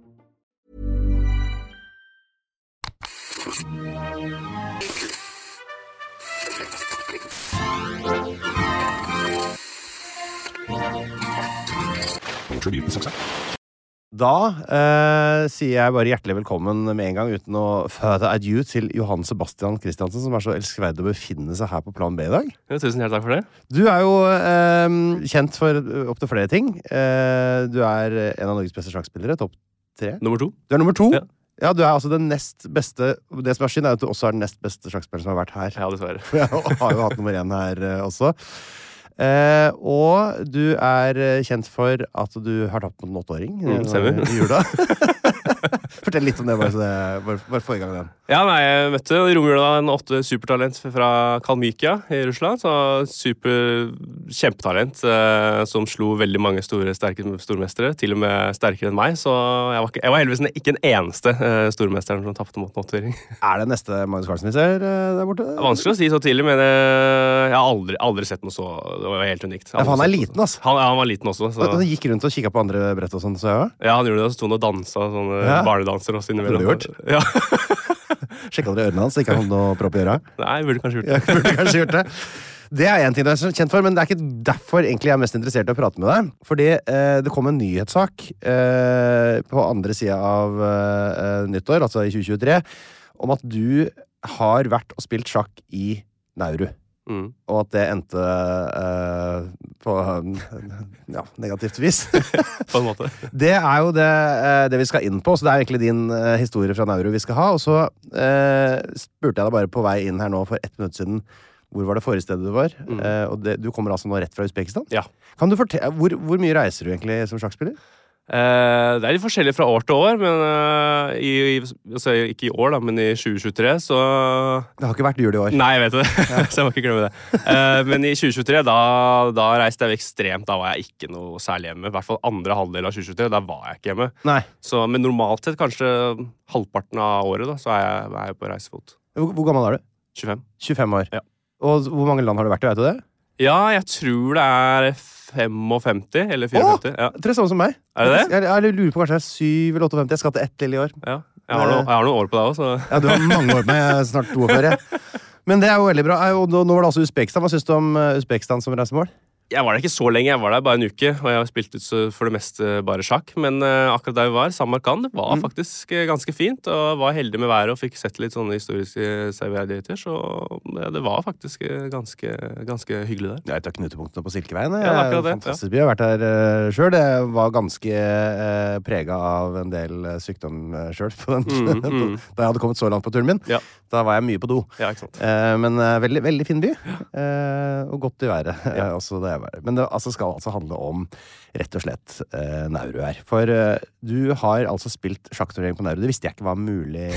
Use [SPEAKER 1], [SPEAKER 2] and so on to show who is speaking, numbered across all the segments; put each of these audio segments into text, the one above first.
[SPEAKER 1] Da eh, sier jeg bare hjertelig velkommen med en gang uten å further adieu til Johan Sebastian Christiansen, som er så elskverdig å befinne seg her på Plan B i dag.
[SPEAKER 2] Jo, tusen hjertelig takk for det.
[SPEAKER 1] Du er jo eh, kjent for opptil flere ting. Eh, du er en av Norges beste sjakkspillere. Topp tre.
[SPEAKER 2] Nummer to.
[SPEAKER 1] Du er nummer to. Ja.
[SPEAKER 2] Ja.
[SPEAKER 1] du er altså den nest beste Det som er synd, er at du også er den nest beste sjakkspilleren som har vært her.
[SPEAKER 2] Ja, dessverre.
[SPEAKER 1] For jeg har jo hatt nummer én her eh, også. Eh, og du er eh, kjent for at du har tapt mot en åtteåring eh,
[SPEAKER 2] Mm, stemmer.
[SPEAKER 1] nå i jula. Fortell litt om det, bare, så det, bare, bare få i gang den.
[SPEAKER 2] Ja, nei, Jeg møtte i romjula en åtte supertalent fra Kalmykia i Russland. Så super Kjempetalent eh, som slo veldig mange store sterke stormestere. Til og med sterkere enn meg, så jeg var, ikke, jeg var heldigvis ikke den eneste eh, stormesteren som tapte mot en åtteåring.
[SPEAKER 1] Er det neste Magnus Carlsen vi ser eh, der borte?
[SPEAKER 2] Det er Vanskelig å si så tidlig, men eh, jeg har aldri, aldri sett noe så Det var helt unikt.
[SPEAKER 1] Ja, for han er liten, altså.
[SPEAKER 2] Han, ja, han var liten også. Så.
[SPEAKER 1] Han han gikk rundt og kikka på andre brett og sånn, så jeg òg.
[SPEAKER 2] Ja, han gjorde det, og så sto han og dansa sånne
[SPEAKER 1] Ja.
[SPEAKER 2] barnedanser også innimellom.
[SPEAKER 1] burde
[SPEAKER 2] Ja.
[SPEAKER 1] Sjekka dere ørene hans, så ikke han hadde noe propp i øra?
[SPEAKER 2] Nei, jeg burde kanskje gjort det.
[SPEAKER 1] Jeg burde kanskje gjort det. Det er én ting du er kjent for, men det er ikke derfor egentlig jeg er mest interessert i å prate med deg. Fordi eh, det kom en nyhetssak eh, på andre sida av eh, nyttår, altså i 2023, om at du har vært og spilt sjakk i Nauru.
[SPEAKER 2] Mm.
[SPEAKER 1] Og at det endte eh, på ja, negativt vis.
[SPEAKER 2] På en måte.
[SPEAKER 1] Det er jo det, eh, det vi skal inn på, så det er egentlig din eh, historie fra Nauru vi skal ha. Og så eh, spurte jeg deg bare på vei inn her nå for ett minutt siden hvor var det forrige stedet du var.
[SPEAKER 2] Mm.
[SPEAKER 1] Eh, og det, du kommer altså nå rett fra Usbekistan.
[SPEAKER 2] Ja.
[SPEAKER 1] Kan du fortelle, hvor, hvor mye reiser du egentlig som sjakkspiller?
[SPEAKER 2] Eh, det er litt forskjellig fra år til år, men eh, i, i, altså, ikke i år, da, men i 2023 så
[SPEAKER 1] Det har ikke vært jul i år.
[SPEAKER 2] Nei, jeg vet det, så jeg må ikke glemme det. Eh, men i 2023, da, da reiste jeg ekstremt. Da var jeg ikke noe særlig hjemme. I hvert fall andre halvdel av 2023. Da var jeg ikke hjemme.
[SPEAKER 1] Nei.
[SPEAKER 2] Så, men normalt sett, kanskje halvparten av året, da, så er jeg, er jeg på reisefot.
[SPEAKER 1] Hvor, hvor gammel er du?
[SPEAKER 2] 25.
[SPEAKER 1] 25 år.
[SPEAKER 2] Ja.
[SPEAKER 1] Og hvor mange land har du vært i, vet du det?
[SPEAKER 2] Ja, jeg tror det er 55, eller 54. Ja.
[SPEAKER 1] Jeg tror det er samme som meg.
[SPEAKER 2] Er det det?
[SPEAKER 1] Jeg, jeg, jeg lurer på kanskje det er 7 eller 58. Jeg skal til ett lille i år.
[SPEAKER 2] ja. Jeg, har noe, jeg har noen år på deg òg, så
[SPEAKER 1] Ja, du har mange år på meg. Jeg er snart 42. jeg. Men det er jo veldig bra. Eh, Og nå nå var det altså Usbekistan. Hva syns du om eh, Usbekistan som reisemål?
[SPEAKER 2] Jeg var der ikke så lenge, jeg var der bare en uke, og jeg har spilt ut så- for det meste bare sjakk. Men eh, akkurat der vi var, Samarkand, det
[SPEAKER 1] Mm.
[SPEAKER 2] var faktisk eh, ganske fint. Og var heldig med været og fikk sett litt sånne historiske severdigheter. Så det, det var faktisk eh, ganske, ganske hyggelig der.
[SPEAKER 1] Det er et av knutepunktene på Silkeveien.
[SPEAKER 2] Ja, det er
[SPEAKER 1] Det er
[SPEAKER 2] akkurat det,
[SPEAKER 1] Fantastisk by. Jeg har vært der uh, sjøl. Jeg var ganske uh, prega av en del eh, sykdom uh, sjøl på den-
[SPEAKER 2] Mm, mm.
[SPEAKER 1] da jeg hadde kommet så langt på turen min.
[SPEAKER 2] Ja.
[SPEAKER 1] Da var jeg mye på do.
[SPEAKER 2] Ja, ikke sant.
[SPEAKER 1] Eh, men eh, veldig, veldig fin by, eh, og godt i været. eh, også det jeg var. Men det altså, skal altså handle om rett og slett eh, Nauru her. For eh, du har altså spilt sjakkturnering på Nauru. Det visste jeg ikke var mulig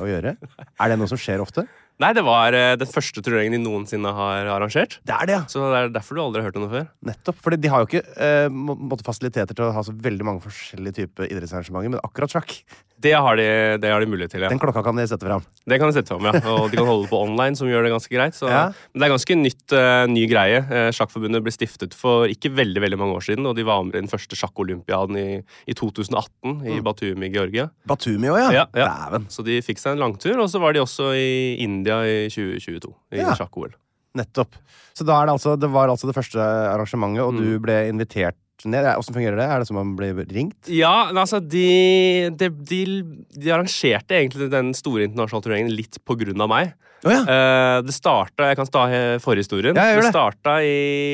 [SPEAKER 1] å gjøre. Er det noe som skjer ofte?
[SPEAKER 2] Nei, det var eh, den første turneringen de noensinne har arrangert.
[SPEAKER 1] Det er det, ja!
[SPEAKER 2] Så det er derfor du aldri har hørt om det før.
[SPEAKER 1] Nettopp. For de har jo ikke eh, må- måtte fasiliteter til å ha så veldig mange forskjellige typer idrettsarrangementer, men akkurat sjakk,
[SPEAKER 2] Det har de, det har de mulighet til, ja.
[SPEAKER 1] den klokka kan de sette fram.
[SPEAKER 2] Det kan de sette fram, ja. Og de kan holde på online, som gjør det ganske greit. Så.
[SPEAKER 1] Ja.
[SPEAKER 2] Men det er ganske nytt, eh, ny greie. Eh, Sjakkforbundet ble stiftet for ikke veldig veldig mange år siden, og de var med i den første sjakkolympiaden i, i 2018 i Batumi, Georgia.
[SPEAKER 1] Batumi òg, ja.
[SPEAKER 2] Ja, ja.
[SPEAKER 1] Mm. Ah, Dæven.
[SPEAKER 2] Så de fikk seg en langtur, og så var de også i India i 2022, i
[SPEAKER 1] Ja.
[SPEAKER 2] sjakk-OL.
[SPEAKER 1] Nettopp. Så da er det, altså, det var altså det første arrangementet, og
[SPEAKER 2] Mm.
[SPEAKER 1] du ble invitert ned. Åssen fungerer det? Er det som om man blir ringt?
[SPEAKER 2] Ja, men altså, de, de, de, de arrangerte egentlig den store internasjonale turneringen litt på grunn av meg.
[SPEAKER 1] Å ja.
[SPEAKER 2] Eh, det starta Jeg kan ta he- forhistorien.
[SPEAKER 1] Ja, gjør det.
[SPEAKER 2] det starta i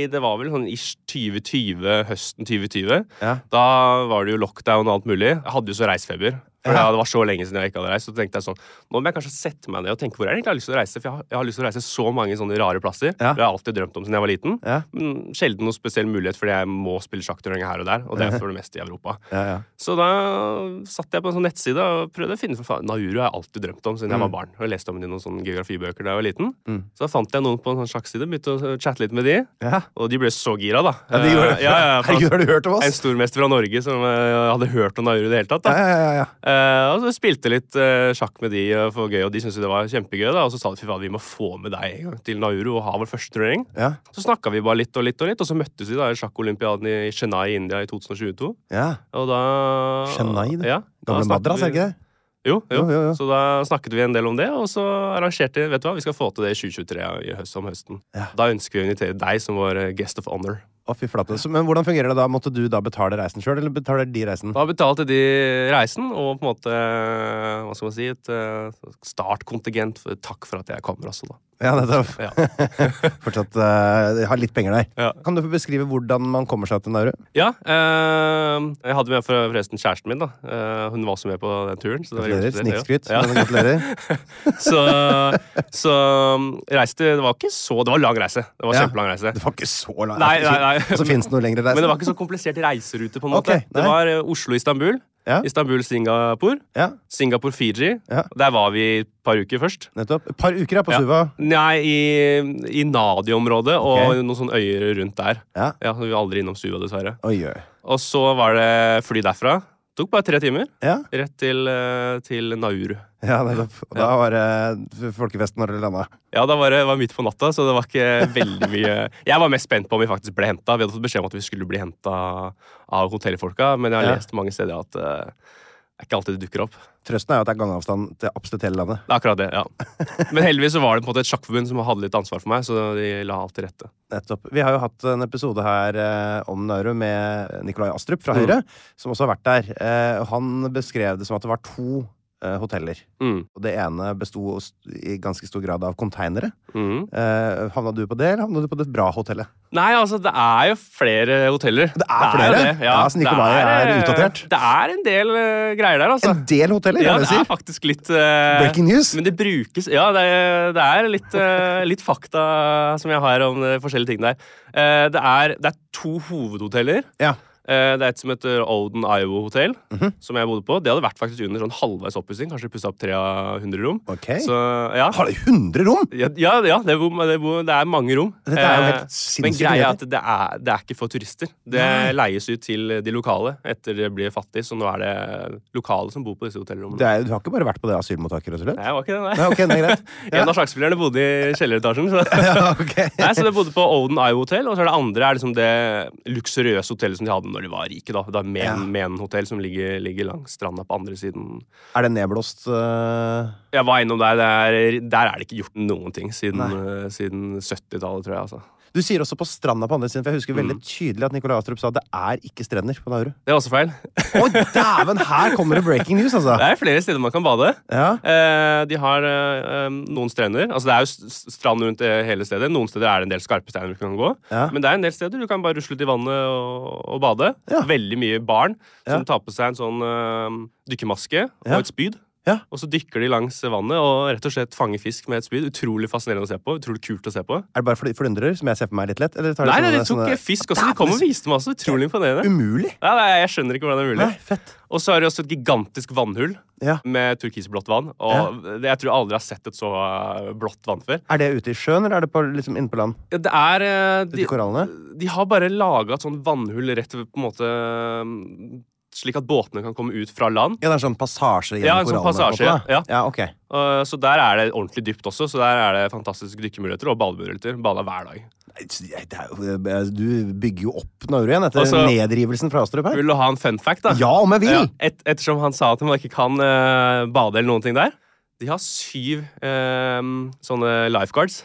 [SPEAKER 2] Det var vel sånn ish 2020, høsten 2020.
[SPEAKER 1] Ja.
[SPEAKER 2] Da var det jo lockdown og alt mulig. Jeg hadde jo så reisefeber. For
[SPEAKER 1] Ja.
[SPEAKER 2] Det var så lenge siden jeg ikke hadde reist. Så tenkte jeg sånn Nå må jeg kanskje sette meg ned og tenke hvor er det egentlig jeg har lyst til å reise. For jeg har, jeg har lyst til å reise så mange sånne rare plasser.
[SPEAKER 1] Ja.
[SPEAKER 2] Det har jeg alltid drømt om siden jeg var liten.
[SPEAKER 1] Ja.
[SPEAKER 2] Men sjelden noen spesiell mulighet, fordi jeg må spille sjakkturneringer her og der. Og det er for det meste i Europa.
[SPEAKER 1] Ja, ja.
[SPEAKER 2] Så da satt jeg på en sånn nettside og prøvde å finne for faen, Nauru har jeg alltid drømt om siden jeg
[SPEAKER 1] Mm.
[SPEAKER 2] var barn. Og jeg leste om det i noen sånne geografibøker da jeg var liten. Så da fant jeg noen på en sånn sjakkside, begynte å chatte litt med de.
[SPEAKER 1] Ja.
[SPEAKER 2] Og de ble så gira, da.
[SPEAKER 1] Ja, de gjorde det.
[SPEAKER 2] Eh, ja, ja, for
[SPEAKER 1] Herregud, har du hørt om oss?
[SPEAKER 2] En stormester fra Norge som eh, hadde hørt om Nauru i det hele tatt. da.
[SPEAKER 1] Ja, ja, ja, ja.
[SPEAKER 2] Eh, og så spilte litt eh, sjakk med de eh, for gøy, og de syntes jo det var kjempegøy. da, Og så sa de fy faen, vi må få med deg en gang til Nauru og ha vår første turnering.
[SPEAKER 1] Ja.
[SPEAKER 2] Så snakka vi bare litt og litt, og litt, og så møttes vi da i sjakkolympiaden i Chennai i India i 2022.
[SPEAKER 1] ja.
[SPEAKER 2] Og da
[SPEAKER 1] Chennai, det.
[SPEAKER 2] Ja, da
[SPEAKER 1] Gamle
[SPEAKER 2] snakket
[SPEAKER 1] Madras,
[SPEAKER 2] vi-
[SPEAKER 1] er det ikke det?
[SPEAKER 2] Jo, jo.
[SPEAKER 1] Jo, jo, jo.
[SPEAKER 2] Så da snakket vi en del om det, og så arrangerte vi Vet du hva, vi skal få til det i 2023 i høst, om høsten.
[SPEAKER 1] Ja.
[SPEAKER 2] Da ønsker vi å invitere deg som vår eh, guest of honor.
[SPEAKER 1] Å, fy flate. Så, men hvordan fungerer det da? Måtte du da betale reisen sjøl, eller betaler de reisen?
[SPEAKER 2] Da betalte de reisen og på en måte eh, hva skal man si, et eh, startkontingent. For, takk for at jeg kommer også, da.
[SPEAKER 1] Ja, nettopp.
[SPEAKER 2] Ja.
[SPEAKER 1] Fortsatt eh, de har litt penger der.
[SPEAKER 2] Ja.
[SPEAKER 1] Kan du få beskrive hvordan man kommer seg til Nauru?
[SPEAKER 2] Ja, eh, jeg hadde med for- forresten kjæresten min. da. Eh, hun var også med på den turen. Så det var
[SPEAKER 1] Gratulerer.
[SPEAKER 2] greit å se,
[SPEAKER 1] Snikskryt.
[SPEAKER 2] ja.
[SPEAKER 1] men Gratulerer.
[SPEAKER 2] Så, så um, reiste Det var ikke så Det var lang reise. Det var
[SPEAKER 1] Ja.
[SPEAKER 2] kjempelang reise.
[SPEAKER 1] Det var ikke så langt.
[SPEAKER 2] Nei, nei, nei.
[SPEAKER 1] Og så fins det noe lengre reise.
[SPEAKER 2] Men det var ikke så komplisert reiserute, på en måte.
[SPEAKER 1] Ok, nei.
[SPEAKER 2] det var eh, Oslo-Istanbul,
[SPEAKER 1] Ja.
[SPEAKER 2] Istanbul-Singapore,
[SPEAKER 1] Ja,
[SPEAKER 2] Singapore-Fiji.
[SPEAKER 1] Ja.
[SPEAKER 2] Der var vi et par uker først.
[SPEAKER 1] nettopp. Et par uker ja, på
[SPEAKER 2] Ja.
[SPEAKER 1] Suva.
[SPEAKER 2] Nei, i, i Nadi-området
[SPEAKER 1] Ok.
[SPEAKER 2] og noen sånne øyer rundt der.
[SPEAKER 1] Ja.
[SPEAKER 2] Ja, Vi var aldri innom Suva, dessverre.
[SPEAKER 1] Oi, oi.
[SPEAKER 2] Og så var det fly derfra. Tok bare tre timer.
[SPEAKER 1] Ja.
[SPEAKER 2] Rett til, eh, til Nauru.
[SPEAKER 1] Ja, nettopp. Og da var eh, det folkefest når dere landa.
[SPEAKER 2] Ja, da var det var midt på natta, så det var ikke veldig mye Jeg var mest spent på om vi faktisk ble henta. Vi hadde fått beskjed om at vi skulle bli henta av hotellfolka, men jeg har
[SPEAKER 1] Ja.
[SPEAKER 2] lest mange steder at eh, det er ikke alltid det dukker opp.
[SPEAKER 1] Trøsten er jo at det er gangavstand til absolutt hele landet.
[SPEAKER 2] Det er akkurat det, ja. Men heldigvis så var det på en måte et sjakkforbund som hadde litt ansvar for meg, så de la alt til rette.
[SPEAKER 1] Nettopp. Vi har jo hatt en episode her eh, om Nauru med Nikolai Astrup
[SPEAKER 2] Mm.
[SPEAKER 1] fra Høyre, som også har vært der. Eh, han beskrev det som at det var to eh, hoteller.
[SPEAKER 2] Mm.
[SPEAKER 1] Og det ene besto st- i ganske stor grad av konteinere.
[SPEAKER 2] Mm.
[SPEAKER 1] Eh, havna du på det, eller havna du på det bra hotellet?
[SPEAKER 2] Nei, altså, det er jo flere hoteller. Det jo
[SPEAKER 1] flere?
[SPEAKER 2] det,
[SPEAKER 1] Ja, så Nikolai
[SPEAKER 2] Det
[SPEAKER 1] er
[SPEAKER 2] eh,
[SPEAKER 1] utdatert.
[SPEAKER 2] Det er en del eh, greier der, altså.
[SPEAKER 1] En del hoteller,
[SPEAKER 2] Ja,
[SPEAKER 1] er det
[SPEAKER 2] det
[SPEAKER 1] du
[SPEAKER 2] er
[SPEAKER 1] sier?
[SPEAKER 2] faktisk litt eh,
[SPEAKER 1] Breaking news.
[SPEAKER 2] Men det brukes Ja, det, er- det er litt, eh, litt fakta som jeg har om eh, forskjellige ting der. Eh, det, er, det er to hovedhoteller.
[SPEAKER 1] Ja. Mhm.
[SPEAKER 2] Eh, det er et som heter Olden Iowa Hotel, som jeg bodde på. Det hadde vært faktisk under sånn halvveis oppussing. Kanskje pussa opp 300 rom.
[SPEAKER 1] Ok.
[SPEAKER 2] Så, ja.
[SPEAKER 1] Har de 100 rom?!
[SPEAKER 2] Ja, ja, ja det, er bom, det, er bom, det er mange rom.
[SPEAKER 1] Dette er jo
[SPEAKER 2] Eh,
[SPEAKER 1] helt sinnssyke
[SPEAKER 2] Men greia er
[SPEAKER 1] nyheter.
[SPEAKER 2] at det er, det er ikke for turister. Det leies ut til de lokale etter det blir fattig, så nå er det lokale som bor på disse
[SPEAKER 1] Det
[SPEAKER 2] hotellrommene.
[SPEAKER 1] er, du har ikke bare vært på det asylmottaket, rett og slett?
[SPEAKER 2] Nei, det var ikke det, nei.
[SPEAKER 1] Nei, ok, det er greit. Ja.
[SPEAKER 2] En av sjakkspillerne bodde i kjelleretasjen. Så.
[SPEAKER 1] Ja, ok.
[SPEAKER 2] Nei, så det bodde på Olden Eye Hotel, og så er det andre er liksom det luksuriøse hotellet som de hadde når de var rike. da. Det er Men,
[SPEAKER 1] Ja.
[SPEAKER 2] Men Hotel som ligger, ligger langs stranda på andre siden.
[SPEAKER 1] Er det nedblåst eh,
[SPEAKER 2] Jeg var innom der. Der, der er det ikke gjort noen ting siden,
[SPEAKER 1] Nei.
[SPEAKER 2] eh, siden 70-tallet, tror jeg. altså.
[SPEAKER 1] Du sier også på stranda på andre siden, for jeg husker
[SPEAKER 2] Mm.
[SPEAKER 1] veldig tydelig at Nikolai Astrup sa at det er ikke strender på Nauru.
[SPEAKER 2] Det er også feil.
[SPEAKER 1] Å, dæven! Her kommer det breaking news, altså!
[SPEAKER 2] Det er flere steder man kan bade.
[SPEAKER 1] Ja.
[SPEAKER 2] Eh, de har eh, eh, noen strender. Altså Det er jo s- s- strand rundt eh, hele stedet. Noen steder er det en del skarpe steiner du kan gå.
[SPEAKER 1] Ja.
[SPEAKER 2] Men det er en del steder du kan bare rusle ut i vannet og, og bade.
[SPEAKER 1] Ja.
[SPEAKER 2] Veldig mye barn
[SPEAKER 1] Ja.
[SPEAKER 2] som tar på seg en sånn eh, dykkermaske
[SPEAKER 1] Ja.
[SPEAKER 2] og et spyd.
[SPEAKER 1] Ja.
[SPEAKER 2] Og så dykker de langs vannet og rett og slett fanger fisk med et spyd. Utrolig fascinerende å se på. Utrolig kult å se på.
[SPEAKER 1] Er det bare fly- flyndrer, som jeg ser for meg litt lett? Eller tar
[SPEAKER 2] Nei,
[SPEAKER 1] sånne-
[SPEAKER 2] nei, de tok
[SPEAKER 1] sånne-
[SPEAKER 2] fisk også. De kom og viste meg også. Utrolig imponerende.
[SPEAKER 1] Umulig!
[SPEAKER 2] Nei, nei, jeg skjønner ikke hvordan det er mulig.
[SPEAKER 1] Nei, fett.
[SPEAKER 2] Og så har de også et gigantisk vannhull
[SPEAKER 1] Ja.
[SPEAKER 2] med turkisblått vann. Og det- Jeg tror jeg aldri har sett et så eh, blått vann før.
[SPEAKER 1] Er det ute i sjøen, eller er det på, liksom inne på land?
[SPEAKER 2] Ja, Det er eh,
[SPEAKER 1] Ute i korallene?
[SPEAKER 2] De har bare laga et sånt vannhull rett ved på en måte mm, Slik at båtene kan komme ut fra land.
[SPEAKER 1] Ja, det er en sånn passasje gjennom
[SPEAKER 2] Ja, en sånn
[SPEAKER 1] korallene. på en
[SPEAKER 2] passasje,
[SPEAKER 1] måte, da.
[SPEAKER 2] ja.
[SPEAKER 1] ja, ok.
[SPEAKER 2] Eh, Så der er det ordentlig dypt også. Så der er det fantastiske dykkemuligheter og bademuligheter. Bada hver dag.
[SPEAKER 1] Nei, det er jo- eh, Du bygger jo opp Nauru igjen etter
[SPEAKER 2] Altså-
[SPEAKER 1] nedrivelsen fra Astrup her.
[SPEAKER 2] Vil du ha en fun fact, da?
[SPEAKER 1] Ja, om jeg vil!
[SPEAKER 2] Ja, et, ettersom han sa at man ikke kan eh, bade eller noen ting der. De har syv eh, sånne lifeguards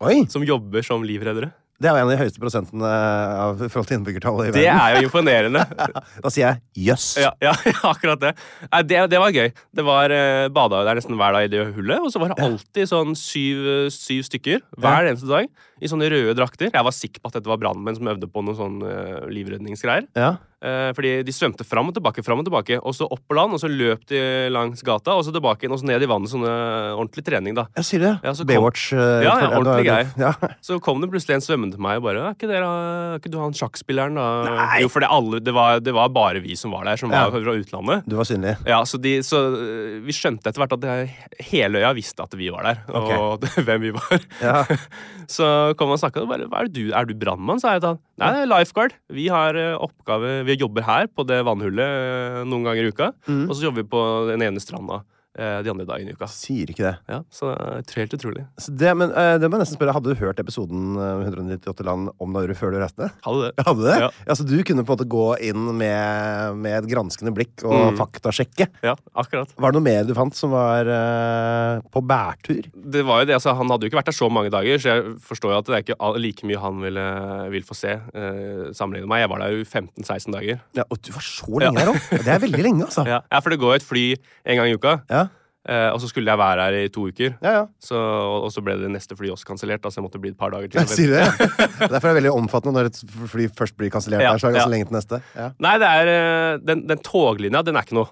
[SPEAKER 1] Oi!
[SPEAKER 2] som jobber som livreddere.
[SPEAKER 1] Det er jo en av de høyeste prosentene eh, av i forhold til innbyggertallet i
[SPEAKER 2] Det
[SPEAKER 1] verden.
[SPEAKER 2] er jo imponerende.
[SPEAKER 1] Da sier jeg jøss.
[SPEAKER 2] Ja, ja akkurat det. Nei, det. Det var gøy. Det var eh, bada jo der nesten hver dag i det hullet, og så var det alltid sånn syv, syv stykker hver eneste dag i sånne røde drakter. Jeg var sikker på at dette var brannmenn som øvde på noen sånn eh, livredningsgreier.
[SPEAKER 1] Ja.
[SPEAKER 2] Eh, fordi de svømte fram og tilbake, fram og tilbake, og så opp på land, og så løp de langs gata, og så tilbake igjen, og så ned i vannet. Sånne ordentlig trening, da.
[SPEAKER 1] Jeg sier det.
[SPEAKER 2] Ja, så kom-
[SPEAKER 1] Baywatch. eh,
[SPEAKER 2] Ja, ja,
[SPEAKER 1] for-
[SPEAKER 2] ordentlig
[SPEAKER 1] da-
[SPEAKER 2] greier.
[SPEAKER 1] Ja.
[SPEAKER 2] Så kom det plutselig en svømmende til meg og bare «Er ikke, dere, er ikke du han sjakkspilleren, da?
[SPEAKER 1] Nei.
[SPEAKER 2] Jo, for det, alle, det, var, det var bare vi som var der, som
[SPEAKER 1] Ja.
[SPEAKER 2] var fra utlandet.
[SPEAKER 1] Du var synlig.
[SPEAKER 2] Ja, så, de, så øh, vi skjønte etter hvert at det, hele øya visste at vi var der, og hvem vi var.
[SPEAKER 1] Ja.
[SPEAKER 2] Så kom han og snakka, og bare Hva er, det du, er du brannmann? sa jeg til han. Nei, det er lifeguard. Vi har øh, oppgave Vi jobber her på det vannhullet øh, noen ganger i uka,
[SPEAKER 1] Mm.
[SPEAKER 2] og så jobber vi på den ene stranda øh, de andre dagene i uka.
[SPEAKER 1] Sier ikke det.
[SPEAKER 2] Ja, så det er helt utrolig.
[SPEAKER 1] Så det, men eh, det må jeg nesten spørre, Hadde du hørt episoden eh, 198 land om Nauru før du reiste?
[SPEAKER 2] Ha det.
[SPEAKER 1] Hadde du det?
[SPEAKER 2] Ja.
[SPEAKER 1] Ja. så du kunne på en måte gå inn med, med et granskende blikk og
[SPEAKER 2] Mm.
[SPEAKER 1] faktasjekke.
[SPEAKER 2] Ja, akkurat.
[SPEAKER 1] Var det noe mer du fant som var eh, på bærtur?
[SPEAKER 2] det var jo det, altså Han hadde jo ikke vært der så mange dager, så jeg forstår jo at det er ikke all- like mye han ville, vil få se. Eh, sammenlignet med meg. Jeg var der jo 15-16 dager.
[SPEAKER 1] Ja, og du var så lenge her òg! Det er veldig lenge, altså.
[SPEAKER 2] Ja. for det går jo et fly en gang i uka,
[SPEAKER 1] Ja.
[SPEAKER 2] eh, og så skulle jeg være her i to uker.
[SPEAKER 1] Ja, ja.
[SPEAKER 2] Så, og, og så ble det neste fly også kansellert, da, så jeg måtte bli et par dager til.
[SPEAKER 1] Jeg sier det. Derfor er det veldig omfattende når et fly først blir kansellert.
[SPEAKER 2] Ja,
[SPEAKER 1] Det er så ganske
[SPEAKER 2] ja.
[SPEAKER 1] lenge til neste. Ja.
[SPEAKER 2] Nei, det er, eh, den, den toglinja, den er ikke noe.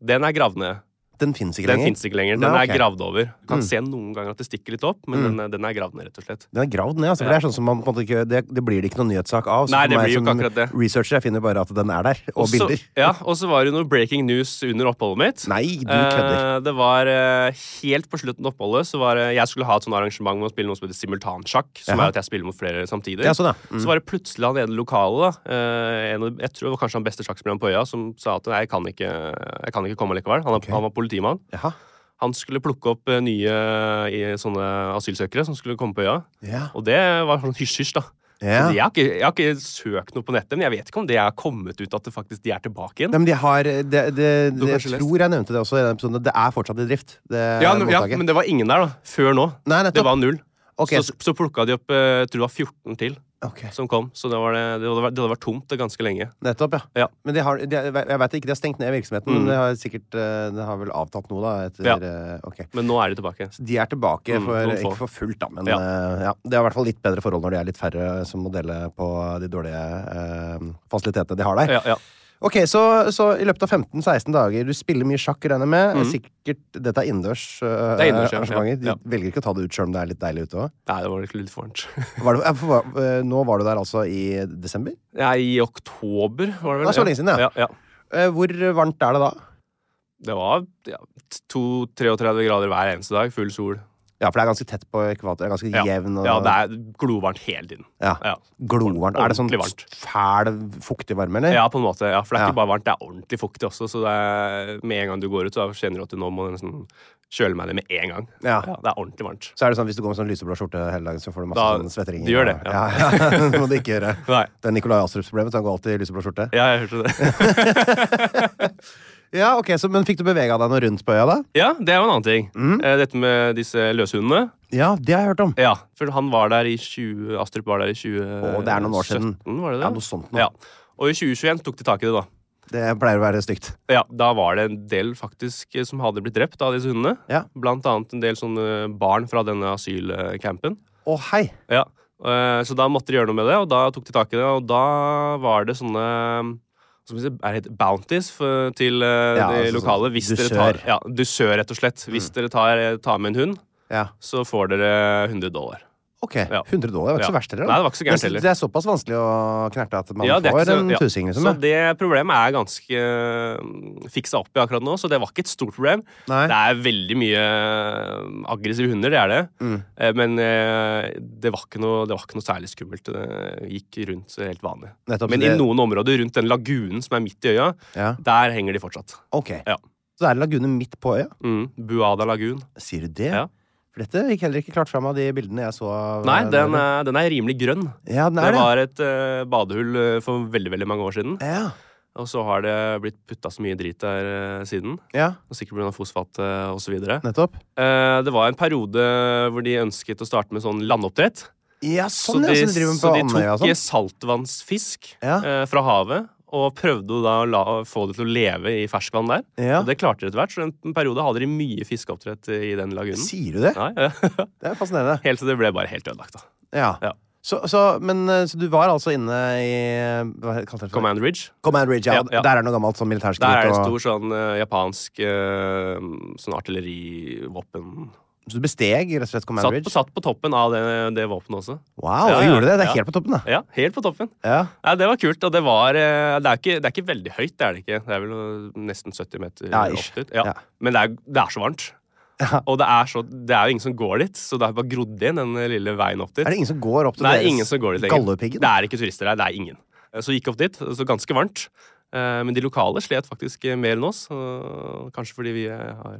[SPEAKER 2] Den er gravd ned.
[SPEAKER 1] Den fins ikke
[SPEAKER 2] Den
[SPEAKER 1] lenger.
[SPEAKER 2] fins ikke lenger. Den
[SPEAKER 1] Nei, ok. Mm.
[SPEAKER 2] er gravd over. Du kan se noen ganger at det stikker litt opp, men den, den er gravd ned, rett og slett.
[SPEAKER 1] Den er gravd ned. Altså, for Det er sånn som man på en måte ikke Det, det blir det ikke noen nyhetssak av. Så
[SPEAKER 2] Nei, det
[SPEAKER 1] for meg
[SPEAKER 2] blir jo ikke
[SPEAKER 1] som
[SPEAKER 2] akkurat det.
[SPEAKER 1] researcher jeg finner bare at den er der, og
[SPEAKER 2] så-
[SPEAKER 1] bilder.
[SPEAKER 2] Ja, og så var det jo noe breaking news under oppholdet mitt.
[SPEAKER 1] Nei, du kødder.
[SPEAKER 2] Eh, Det var eh, helt på slutten av oppholdet så var det, Jeg skulle ha et sånt arrangement med å spille noe som heter simultansjakk. Som
[SPEAKER 1] Jaha.
[SPEAKER 2] er at jeg spiller mot flere samtidig.
[SPEAKER 1] Ja, sånn, ja. Mm.
[SPEAKER 2] Så var det plutselig han ene lokale, da, eh, en, av- jeg tror det var kanskje han beste sjakkspilleren på øya, som sa at nei, jeg kan ikke, jeg kan ikke komme likevel. Han, er- han var politimann.
[SPEAKER 1] Jaha.
[SPEAKER 2] Han skulle plukke opp eh, nye eh, sånne asylsøkere som skulle komme på øya.
[SPEAKER 1] Ja.
[SPEAKER 2] Og det var sånn hysj-hysj, da.
[SPEAKER 1] Ja.
[SPEAKER 2] Så Jeg, har ikke, jeg har ikke søkt noe på nettet, men jeg vet ikke om det har kommet ut at det faktisk de er tilbake igjen.
[SPEAKER 1] Nei, men de har det, det,
[SPEAKER 2] Du har
[SPEAKER 1] Jeg
[SPEAKER 2] kanskje
[SPEAKER 1] tror jeg nevnte det også i den episoden. Det er fortsatt i drift. Det
[SPEAKER 2] Ja, men- ja,
[SPEAKER 1] eh, mottaket.
[SPEAKER 2] men det var ingen der da, før nå.
[SPEAKER 1] Nei, nettopp.
[SPEAKER 2] det var null.
[SPEAKER 1] Ok.
[SPEAKER 2] Så, så plukka de opp eh, jeg tror det var 14 til
[SPEAKER 1] Ok.
[SPEAKER 2] som kom, så det, var det, det, hadde vært- det hadde vært tomt det ganske lenge.
[SPEAKER 1] Nettopp, ja.
[SPEAKER 2] Ja.
[SPEAKER 1] Men de har, de, jeg vet ikke, de har stengt ned virksomheten, men det har sikkert eh, Det har vel avtatt noe, da? Etter,
[SPEAKER 2] Mm. Ja.
[SPEAKER 1] eh, ok.
[SPEAKER 2] Men nå er de tilbake.
[SPEAKER 1] De er tilbake,
[SPEAKER 2] Mm,
[SPEAKER 1] for,
[SPEAKER 2] noen få.
[SPEAKER 1] ikke for fullt, da, men
[SPEAKER 2] Ja.
[SPEAKER 1] eh, ja. det er i hvert fall litt bedre forhold når de er litt færre eh, som må dele på de dårlige eh, fasilitetene de har der.
[SPEAKER 2] Ja, ja.
[SPEAKER 1] Ok, så, så i løpet av 15-16 dager Du spiller mye sjakk, regner jeg med. Sikkert Dette Mhm. er innendørs eh,
[SPEAKER 2] Det er innendørs, ja.
[SPEAKER 1] arrangementer.
[SPEAKER 2] Ja.
[SPEAKER 1] De velger ikke å ta det ut sjøl om det er litt deilig ute òg.
[SPEAKER 2] Nei, det var litt fornt.
[SPEAKER 1] eh, Nå var du der altså i desember.
[SPEAKER 2] Nei, I oktober, var det vel?
[SPEAKER 1] Det er så lenge siden, ja.
[SPEAKER 2] ja, ja.
[SPEAKER 1] Eh, Hvor varmt er det da?
[SPEAKER 2] Det var ja, to- 33 grader hver eneste dag, full sol.
[SPEAKER 1] Ja, for det er ganske tett på ekvator. det er Ganske
[SPEAKER 2] Ja,
[SPEAKER 1] jevn. Og,
[SPEAKER 2] ja det er glovarmt hele tiden.
[SPEAKER 1] ja.
[SPEAKER 2] Ja.
[SPEAKER 1] Glovarmt. Er det sånn
[SPEAKER 2] Ordentlig varmt.
[SPEAKER 1] fæl, fuktig varme, eller?
[SPEAKER 2] Ja, på en måte. Ja, for det er
[SPEAKER 1] Ja.
[SPEAKER 2] ikke bare varmt, det er ordentlig fuktig også. Så det er, med en gang du går ut, så kjenner du at du nå må nesten kjøle meg ned med en gang.
[SPEAKER 1] Ja.
[SPEAKER 2] det er ordentlig varmt.
[SPEAKER 1] Så er det sånn, Hvis du går med sånn lyseblå skjorte hele dagen, så får du masse
[SPEAKER 2] Da-
[SPEAKER 1] sånn svetteringer.
[SPEAKER 2] du gjør det,
[SPEAKER 1] ja.
[SPEAKER 2] ja.
[SPEAKER 1] Ja, ja, det må du ikke gjøre.
[SPEAKER 2] Nei.
[SPEAKER 1] Det er Nikolai Astrups problem. så Han går alltid i lyseblå skjorte.
[SPEAKER 2] Ja, jeg hørte det.
[SPEAKER 1] Ja, ok, så, Men fikk du bevega deg noe rundt på øya, da?
[SPEAKER 2] Ja, det er jo en annen ting.
[SPEAKER 1] Mm.
[SPEAKER 2] Eh, Dette med disse løshundene.
[SPEAKER 1] Ja, det har jeg hørt om.
[SPEAKER 2] Ja, for han var der i 20... Astrup var der i 2017,
[SPEAKER 1] Å, det er noen år siden.
[SPEAKER 2] var det det?
[SPEAKER 1] Ja, noe sånt nå.
[SPEAKER 2] Ja. Og i 2021 tok de tak i det, da.
[SPEAKER 1] Det pleier å være stygt.
[SPEAKER 2] Ja, Da var det en del faktisk eh, som hadde blitt drept av disse hundene.
[SPEAKER 1] Ja.
[SPEAKER 2] Blant annet en del sånne barn fra denne asylcampen.
[SPEAKER 1] Å, hei!
[SPEAKER 2] Ja, eh, Så da måtte de gjøre noe med det, og da tok de tak i det. Og da var det sånne, som det heter bounties for, til eh,
[SPEAKER 1] Ja, altså
[SPEAKER 2] de
[SPEAKER 1] sånn Mm.
[SPEAKER 2] lokale. Hvis dere tar
[SPEAKER 1] dusør.
[SPEAKER 2] ja, dusør, rett og slett. Hvis dere tar, tar med en hund,
[SPEAKER 1] Ja.
[SPEAKER 2] så får dere 100 dollar.
[SPEAKER 1] Ok,
[SPEAKER 2] Ja.
[SPEAKER 1] 100 dollar var ikke
[SPEAKER 2] Ja.
[SPEAKER 1] så verst heller. da.
[SPEAKER 2] Nei, det var ikke så gærent
[SPEAKER 1] Det er-
[SPEAKER 2] heller.
[SPEAKER 1] Det er såpass vanskelig å knerte at man
[SPEAKER 2] Ja, det er
[SPEAKER 1] får
[SPEAKER 2] ikke så-
[SPEAKER 1] en
[SPEAKER 2] ja.
[SPEAKER 1] tusing, liksom.
[SPEAKER 2] Så
[SPEAKER 1] ja.
[SPEAKER 2] det problemet er ganske eh, fiksa opp i akkurat nå, så det var ikke et stort problem.
[SPEAKER 1] Nei.
[SPEAKER 2] Det er veldig mye eh, aggressive hunder, det er det.
[SPEAKER 1] Mm.
[SPEAKER 2] Eh, Men eh, det var, ikke noe, det var ikke noe særlig skummelt. Det gikk rundt helt vanlig.
[SPEAKER 1] Nettopp,
[SPEAKER 2] Men
[SPEAKER 1] så det-
[SPEAKER 2] i noen områder rundt den lagunen som er midt i øya,
[SPEAKER 1] Ja.
[SPEAKER 2] der henger de fortsatt.
[SPEAKER 1] Ok.
[SPEAKER 2] Ja.
[SPEAKER 1] Så det er lagune midt på øya?
[SPEAKER 2] Mm. Buada lagun.
[SPEAKER 1] Sier du det?
[SPEAKER 2] Ja.
[SPEAKER 1] For dette gikk heller ikke klart fram av de bildene jeg så. av eh,
[SPEAKER 2] Nei, den er, den er rimelig grønn.
[SPEAKER 1] Ja, den
[SPEAKER 2] Det
[SPEAKER 1] er det.
[SPEAKER 2] var et eh, badehull eh, for veldig, veldig mange år siden.
[SPEAKER 1] Ja.
[SPEAKER 2] Og så har det blitt putta så mye drit der eh, siden.
[SPEAKER 1] ja,
[SPEAKER 2] Og sikkert pga. fosfat eh, og så videre.
[SPEAKER 1] nettopp.
[SPEAKER 2] Eh, det var en periode hvor de ønsket å starte med sånn landoppdrett.
[SPEAKER 1] Ja, sånn,
[SPEAKER 2] så de,
[SPEAKER 1] ja! Så de driver med
[SPEAKER 2] så
[SPEAKER 1] på
[SPEAKER 2] de
[SPEAKER 1] Andøya og
[SPEAKER 2] tok
[SPEAKER 1] sånn.
[SPEAKER 2] saltvannsfisk
[SPEAKER 1] Ja.
[SPEAKER 2] eh, fra havet. Og prøvde da å la, å få det til å leve i ferskvann der.
[SPEAKER 1] Ja.
[SPEAKER 2] Og det klarte de etter hvert. Så en, en periode hadde de mye fiskeoppdrett i den lagunen.
[SPEAKER 1] Sier du det?
[SPEAKER 2] Ja, ja.
[SPEAKER 1] Det er fascinerende.
[SPEAKER 2] Helt til det ble bare helt ødelagt, da.
[SPEAKER 1] Ja.
[SPEAKER 2] Ja.
[SPEAKER 1] Så, så, men, eh, så du var altså inne i eh, Hva kalte det? for?
[SPEAKER 2] Command Ridge.
[SPEAKER 1] Command Ridge, ja.
[SPEAKER 2] Ja, ja.
[SPEAKER 1] Der er det noe gammelt sånn militærskritt.
[SPEAKER 2] Der er det en
[SPEAKER 1] og-
[SPEAKER 2] stor sånn eh, japansk eh, sånn artillerivåpen.
[SPEAKER 1] Så du besteg rett og slett Command
[SPEAKER 2] Satt, på-
[SPEAKER 1] Ridge?
[SPEAKER 2] satt på toppen av det, det våpenet også.
[SPEAKER 1] Wow,
[SPEAKER 2] Ja,
[SPEAKER 1] du
[SPEAKER 2] ja,
[SPEAKER 1] gjorde det! Det er
[SPEAKER 2] ja.
[SPEAKER 1] helt på toppen, da.
[SPEAKER 2] Ja, helt på toppen.
[SPEAKER 1] Ja.
[SPEAKER 2] Nei, det var kult, og det var eh, Det er ikke, det er ikke veldig høyt, det er det ikke. Det er vel eh, nesten 70 meter
[SPEAKER 1] Ja,
[SPEAKER 2] opp
[SPEAKER 1] ish.
[SPEAKER 2] dit. Ja.
[SPEAKER 1] Ja.
[SPEAKER 2] Men det er, det er så varmt. Og det er, så, det er jo ingen som går dit, så det har bare grodd inn den lille veien opp dit.
[SPEAKER 1] Er det ingen som går opp til
[SPEAKER 2] Nei,
[SPEAKER 1] deres
[SPEAKER 2] ingen som går dit lenger.
[SPEAKER 1] Galdhøpiggen?
[SPEAKER 2] Det er ikke turister der, det er ingen. Eh, Så gikk opp dit, så ganske varmt. Eh, Men de lokale slet faktisk eh, mer enn oss. og Kanskje fordi vi eh, har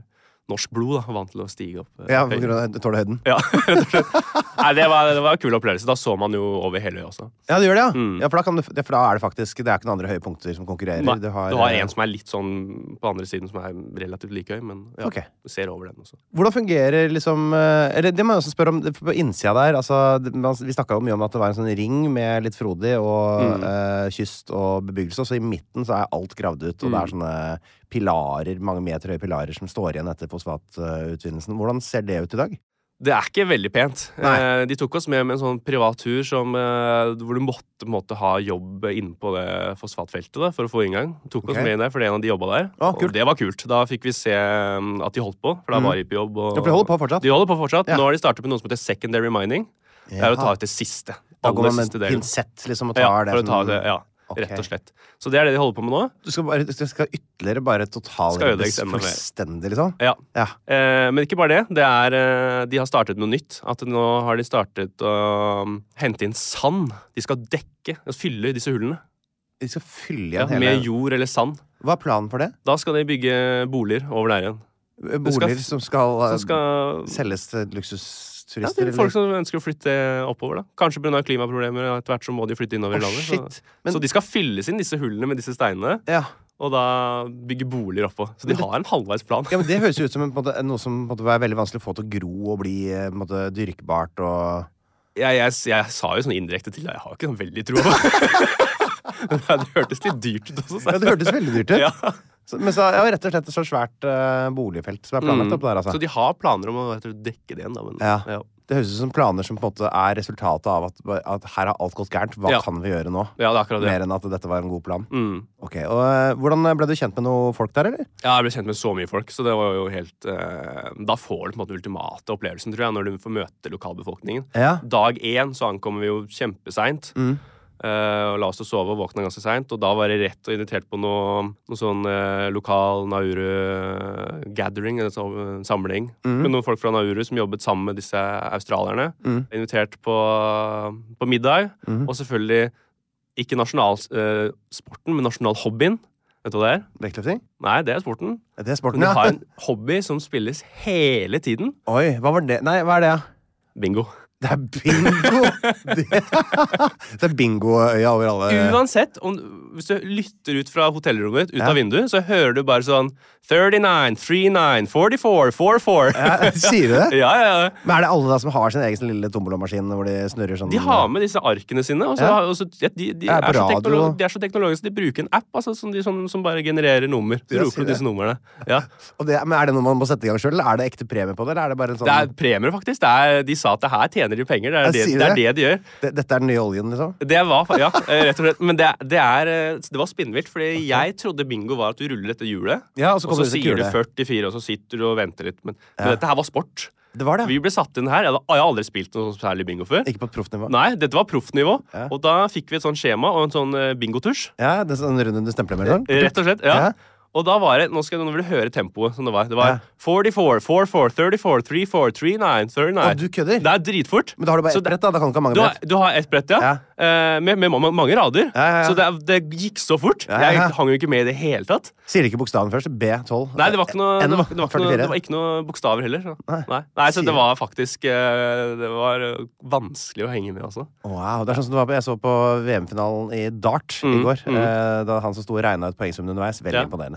[SPEAKER 2] norsk blod da, og vant til å stige opp. eh,
[SPEAKER 1] Ja,
[SPEAKER 2] høyere.
[SPEAKER 1] på grunn av tålhøyden.
[SPEAKER 2] Ja, rett og slett. Nei, det var, det var en kul opplevelse. Da så man jo over hele øya også.
[SPEAKER 1] Ja, du gjør det, ja?
[SPEAKER 2] Mm.
[SPEAKER 1] ja, for da kan du, ja, for da er det faktisk Det er ikke noen andre høydepunkter som konkurrerer.
[SPEAKER 2] Nei,
[SPEAKER 1] du har, eh,
[SPEAKER 2] en som er litt sånn på andre siden, som er relativt like høy, men ja,
[SPEAKER 1] Ok.
[SPEAKER 2] du ser over den også.
[SPEAKER 1] Hvordan fungerer liksom eh, Eller det må jeg også spørre om det- på innsida der. Altså, det- man, vi snakka jo mye om at det var en sånn ring med litt frodig og
[SPEAKER 2] Mm.
[SPEAKER 1] eh, kyst og bebyggelse, og så i midten så er alt gravd ut, og det
[SPEAKER 2] Mm.
[SPEAKER 1] er sånne pilarer, mange meter høye pilarer som står igjen etter fosfatutvinnelsen. Hvordan ser det ut i dag?
[SPEAKER 2] Det er ikke veldig pent.
[SPEAKER 1] Nei.
[SPEAKER 2] Eh, De tok oss med med en sånn privat tur som, eh, hvor du måtte, på en måte ha jobb inne på det fosfatfeltet da, for å få inngang. Tok oss
[SPEAKER 1] Ok.
[SPEAKER 2] med inn der, for det er en av de jobba der.
[SPEAKER 1] Å, kult. Mm.
[SPEAKER 2] Og det var kult. Da fikk vi se um, at de holdt på, for da var de på jobb. Og,
[SPEAKER 1] Ja, for de holder på fortsatt.
[SPEAKER 2] De holder på fortsatt.
[SPEAKER 1] Ja.
[SPEAKER 2] Nå har de startet med noe som heter secondary mining. Det er å ta ut det siste.
[SPEAKER 1] Da går
[SPEAKER 2] aller
[SPEAKER 1] man med
[SPEAKER 2] siste
[SPEAKER 1] en
[SPEAKER 2] delen.
[SPEAKER 1] pinsett liksom og tar
[SPEAKER 2] Ja,
[SPEAKER 1] det
[SPEAKER 2] for
[SPEAKER 1] som
[SPEAKER 2] å ta det, ja.
[SPEAKER 1] Ok.
[SPEAKER 2] Rett og slett. Så det er det de holder på med nå.
[SPEAKER 1] Du skal, bare, du skal ytterligere bare
[SPEAKER 2] Skal
[SPEAKER 1] totalryddes
[SPEAKER 2] ødelegges enda mer.
[SPEAKER 1] fullstendig, liksom?
[SPEAKER 2] Ja.
[SPEAKER 1] Ja.
[SPEAKER 2] Eh, men ikke bare det. det er, eh, de har startet noe nytt. At nå har de startet å um, hente inn sand. De skal dekke, altså fylle disse hullene
[SPEAKER 1] Vi skal fylle
[SPEAKER 2] ja,
[SPEAKER 1] igjen hele
[SPEAKER 2] med jord eller sand.
[SPEAKER 1] Hva er planen for det?
[SPEAKER 2] Da skal de bygge boliger over der igjen. skal-
[SPEAKER 1] Boliger som skal, eh,
[SPEAKER 2] Så skal
[SPEAKER 1] selges til
[SPEAKER 2] ja,
[SPEAKER 1] luksusturister?
[SPEAKER 2] til folk som ønsker å flytte oppover. da. Kanskje pga. klimaproblemer. og Etter hvert så må de flytte innover
[SPEAKER 1] Å,
[SPEAKER 2] i landet.
[SPEAKER 1] shit.
[SPEAKER 2] Så,
[SPEAKER 1] Men-
[SPEAKER 2] så de skal fylles inn, disse hullene med disse steinene.
[SPEAKER 1] eller? Ja.
[SPEAKER 2] Og da bygge boliger oppå. Så de har en halvveis plan.
[SPEAKER 1] ja, men Det høres jo ut som en, på en måte, noe som på en måte, er veldig vanskelig å få til å gro og bli eh, på en måte, dyrkbart og
[SPEAKER 2] jeg, jeg, jeg sa jo sånn indirekte til deg Jeg har ikke sånn veldig tro på det. Det hørtes litt dyrt ut også. sa
[SPEAKER 1] Ja,
[SPEAKER 2] jeg.
[SPEAKER 1] Det hørtes veldig dyrt ut.
[SPEAKER 2] Ja.
[SPEAKER 1] Så, men så, ja, rett og slett et så svært eh, boligfelt som er planlagt opp der, altså.
[SPEAKER 2] Mm. Så de har planer om å jeg tror, dekke det igjen, da. Men,
[SPEAKER 1] Ja.
[SPEAKER 2] ja.
[SPEAKER 1] Det høres ut som planer som på en måte er resultatet av at, at her har alt gått gærent. Hva
[SPEAKER 2] Ja.
[SPEAKER 1] kan vi gjøre nå?
[SPEAKER 2] Ja, det er akkurat det.
[SPEAKER 1] Mer enn at dette var en god plan.
[SPEAKER 2] Mm.
[SPEAKER 1] Ok, og eh, Hvordan ble du kjent med noen folk der, eller?
[SPEAKER 2] Ja, jeg ble kjent med så mye folk, så det var jo helt eh, Da får du på en måte den ultimate opplevelsen, tror jeg, når du får møte lokalbefolkningen.
[SPEAKER 1] Ja.
[SPEAKER 2] Dag én så ankommer vi jo kjempeseint.
[SPEAKER 1] Mm.
[SPEAKER 2] eh, og la oss til å sove og våkna ganske seint. Og da var det rett og invitert på noe, noe sånn eh, lokal eh, Nauru-gathering, en sånn samling.
[SPEAKER 1] Mm.
[SPEAKER 2] Med noen folk fra Nauru som jobbet sammen med disse australierne.
[SPEAKER 1] Mm.
[SPEAKER 2] Invitert på, på middag. Og selvfølgelig ikke nasjonalsporten, sporten, men nasjonalhobbyen. Vet du hva det er?
[SPEAKER 1] Vektløfting?
[SPEAKER 2] Nei, det er sporten.
[SPEAKER 1] Ja, Det er
[SPEAKER 2] Men
[SPEAKER 1] sporten,
[SPEAKER 2] de
[SPEAKER 1] ja.
[SPEAKER 2] har en hobby som spilles hele tiden.
[SPEAKER 1] Oi, hva var det? Nei, hva er det, ja?
[SPEAKER 2] Bingo.
[SPEAKER 1] Det er bingo! Det, det er bingoøya over alle
[SPEAKER 2] Uansett, om, hvis du lytter ut fra hotellrommet ditt, ut
[SPEAKER 1] Ja.
[SPEAKER 2] av vinduet, så hører du bare sånn 39, 39, 44, 44.
[SPEAKER 1] Ja, Sier du det?
[SPEAKER 2] Ja, ja, ja.
[SPEAKER 1] Men er det alle da som har sin egen sånn lille tombolamaskin hvor de snurrer sånn
[SPEAKER 2] De har med disse arkene sine. Og så,
[SPEAKER 1] Ja.
[SPEAKER 2] og så, ja, de, de,
[SPEAKER 1] Ja,
[SPEAKER 2] er
[SPEAKER 1] på
[SPEAKER 2] så
[SPEAKER 1] radio.
[SPEAKER 2] teknolo- de er så teknologiske, de bruker en app altså, som, de, som, som bare genererer nummer. Så
[SPEAKER 1] Ja, sier
[SPEAKER 2] roper du
[SPEAKER 1] det.
[SPEAKER 2] disse numrene. Ja.
[SPEAKER 1] Og det, men er det noe man må sette i gang sjøl, eller er det ekte premie på det? Eller er det bare en sånn
[SPEAKER 2] Det er premier, faktisk. Det er, de sa at det her tjener tjener de penger. Det er
[SPEAKER 1] Jeg
[SPEAKER 2] det,
[SPEAKER 1] sier
[SPEAKER 2] det, er
[SPEAKER 1] det.
[SPEAKER 2] det de gjør.
[SPEAKER 1] Det- Dette er den nye oljen, liksom?
[SPEAKER 2] Det var, fa- ja, eh, rett og slett. Men det, det, er, eh, det var spinnvilt, fordi jeg trodde bingo var at du ruller dette hjulet,
[SPEAKER 1] Ja, og så kommer det til
[SPEAKER 2] sier du
[SPEAKER 1] kule.
[SPEAKER 2] 44, og så sitter du og venter litt. Men, men
[SPEAKER 1] Ja.
[SPEAKER 2] dette her var sport.
[SPEAKER 1] Det var
[SPEAKER 2] Vi
[SPEAKER 1] det.
[SPEAKER 2] ble satt inn her. Jeg hadde, ah, jeg hadde aldri spilt noe sånn særlig bingo før.
[SPEAKER 1] Ikke på et proffnivå.
[SPEAKER 2] Nei, dette var proffnivå.
[SPEAKER 1] Ja.
[SPEAKER 2] Og da fikk vi et sånt skjema og en sånn eh, bingotusj.
[SPEAKER 1] Ja, det er sånn runden du stempler med? Sånn.
[SPEAKER 2] Rett og slett, ja.
[SPEAKER 1] Ja.
[SPEAKER 2] Og da var det Nå skal jeg, nå vil du høre tempoet som det var. Det
[SPEAKER 1] Ja.
[SPEAKER 2] var 44, 44, 34, 34, 39, 39.
[SPEAKER 1] Å, du kødder.
[SPEAKER 2] Det er dritfort.
[SPEAKER 1] Men da har du bare
[SPEAKER 2] Så
[SPEAKER 1] ett brett, da. Da kan du ikke ha mange
[SPEAKER 2] Du har,
[SPEAKER 1] brett.
[SPEAKER 2] du har ett brett, ja.
[SPEAKER 1] Ja.
[SPEAKER 2] Eh, med, med ma- mange
[SPEAKER 1] Ja,
[SPEAKER 2] rader.
[SPEAKER 1] ja, ja.
[SPEAKER 2] Så det, er- det gikk så fort.
[SPEAKER 1] Ja, ja, ja.
[SPEAKER 2] Jeg hang jo ikke med i det hele tatt.
[SPEAKER 1] Sier de ikke bokstaven først? B12?
[SPEAKER 2] Nei, det var ikke noe,
[SPEAKER 1] N,
[SPEAKER 2] det var, det var ikke noe,
[SPEAKER 1] 44.
[SPEAKER 2] det var ikke noe bokstaver heller. Så.
[SPEAKER 1] Nei.
[SPEAKER 2] Nei. Nei, så
[SPEAKER 1] Sier-
[SPEAKER 2] det var faktisk eh, Det var eh, vanskelig å henge med, altså.
[SPEAKER 1] Wow, det er sånn som det var på, Jeg så på VM-finalen i dart i går. eh, Da han som sto og regna ut poengsummen underveis. Veldig
[SPEAKER 2] Mm, Ja.
[SPEAKER 1] imponerende.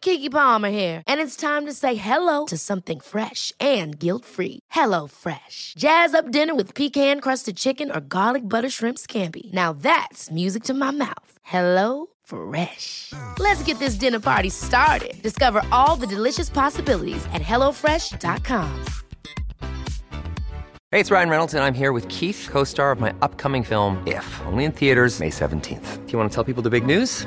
[SPEAKER 3] Kiki Palmer here, and it's time to say hello to something fresh and guilt-free. Hello Fresh. Jazz up dinner with pecan-crusted chicken or garlic butter shrimp scampi. Now that's music to my mouth. Hello Fresh. Let's get this dinner party started. Discover all the delicious possibilities at hellofresh.com.
[SPEAKER 4] Hey, it's Ryan Reynolds, and I'm here with Keith, co star of my upcoming film, If, only in theaters, May 17th. Do you want to tell people the big news?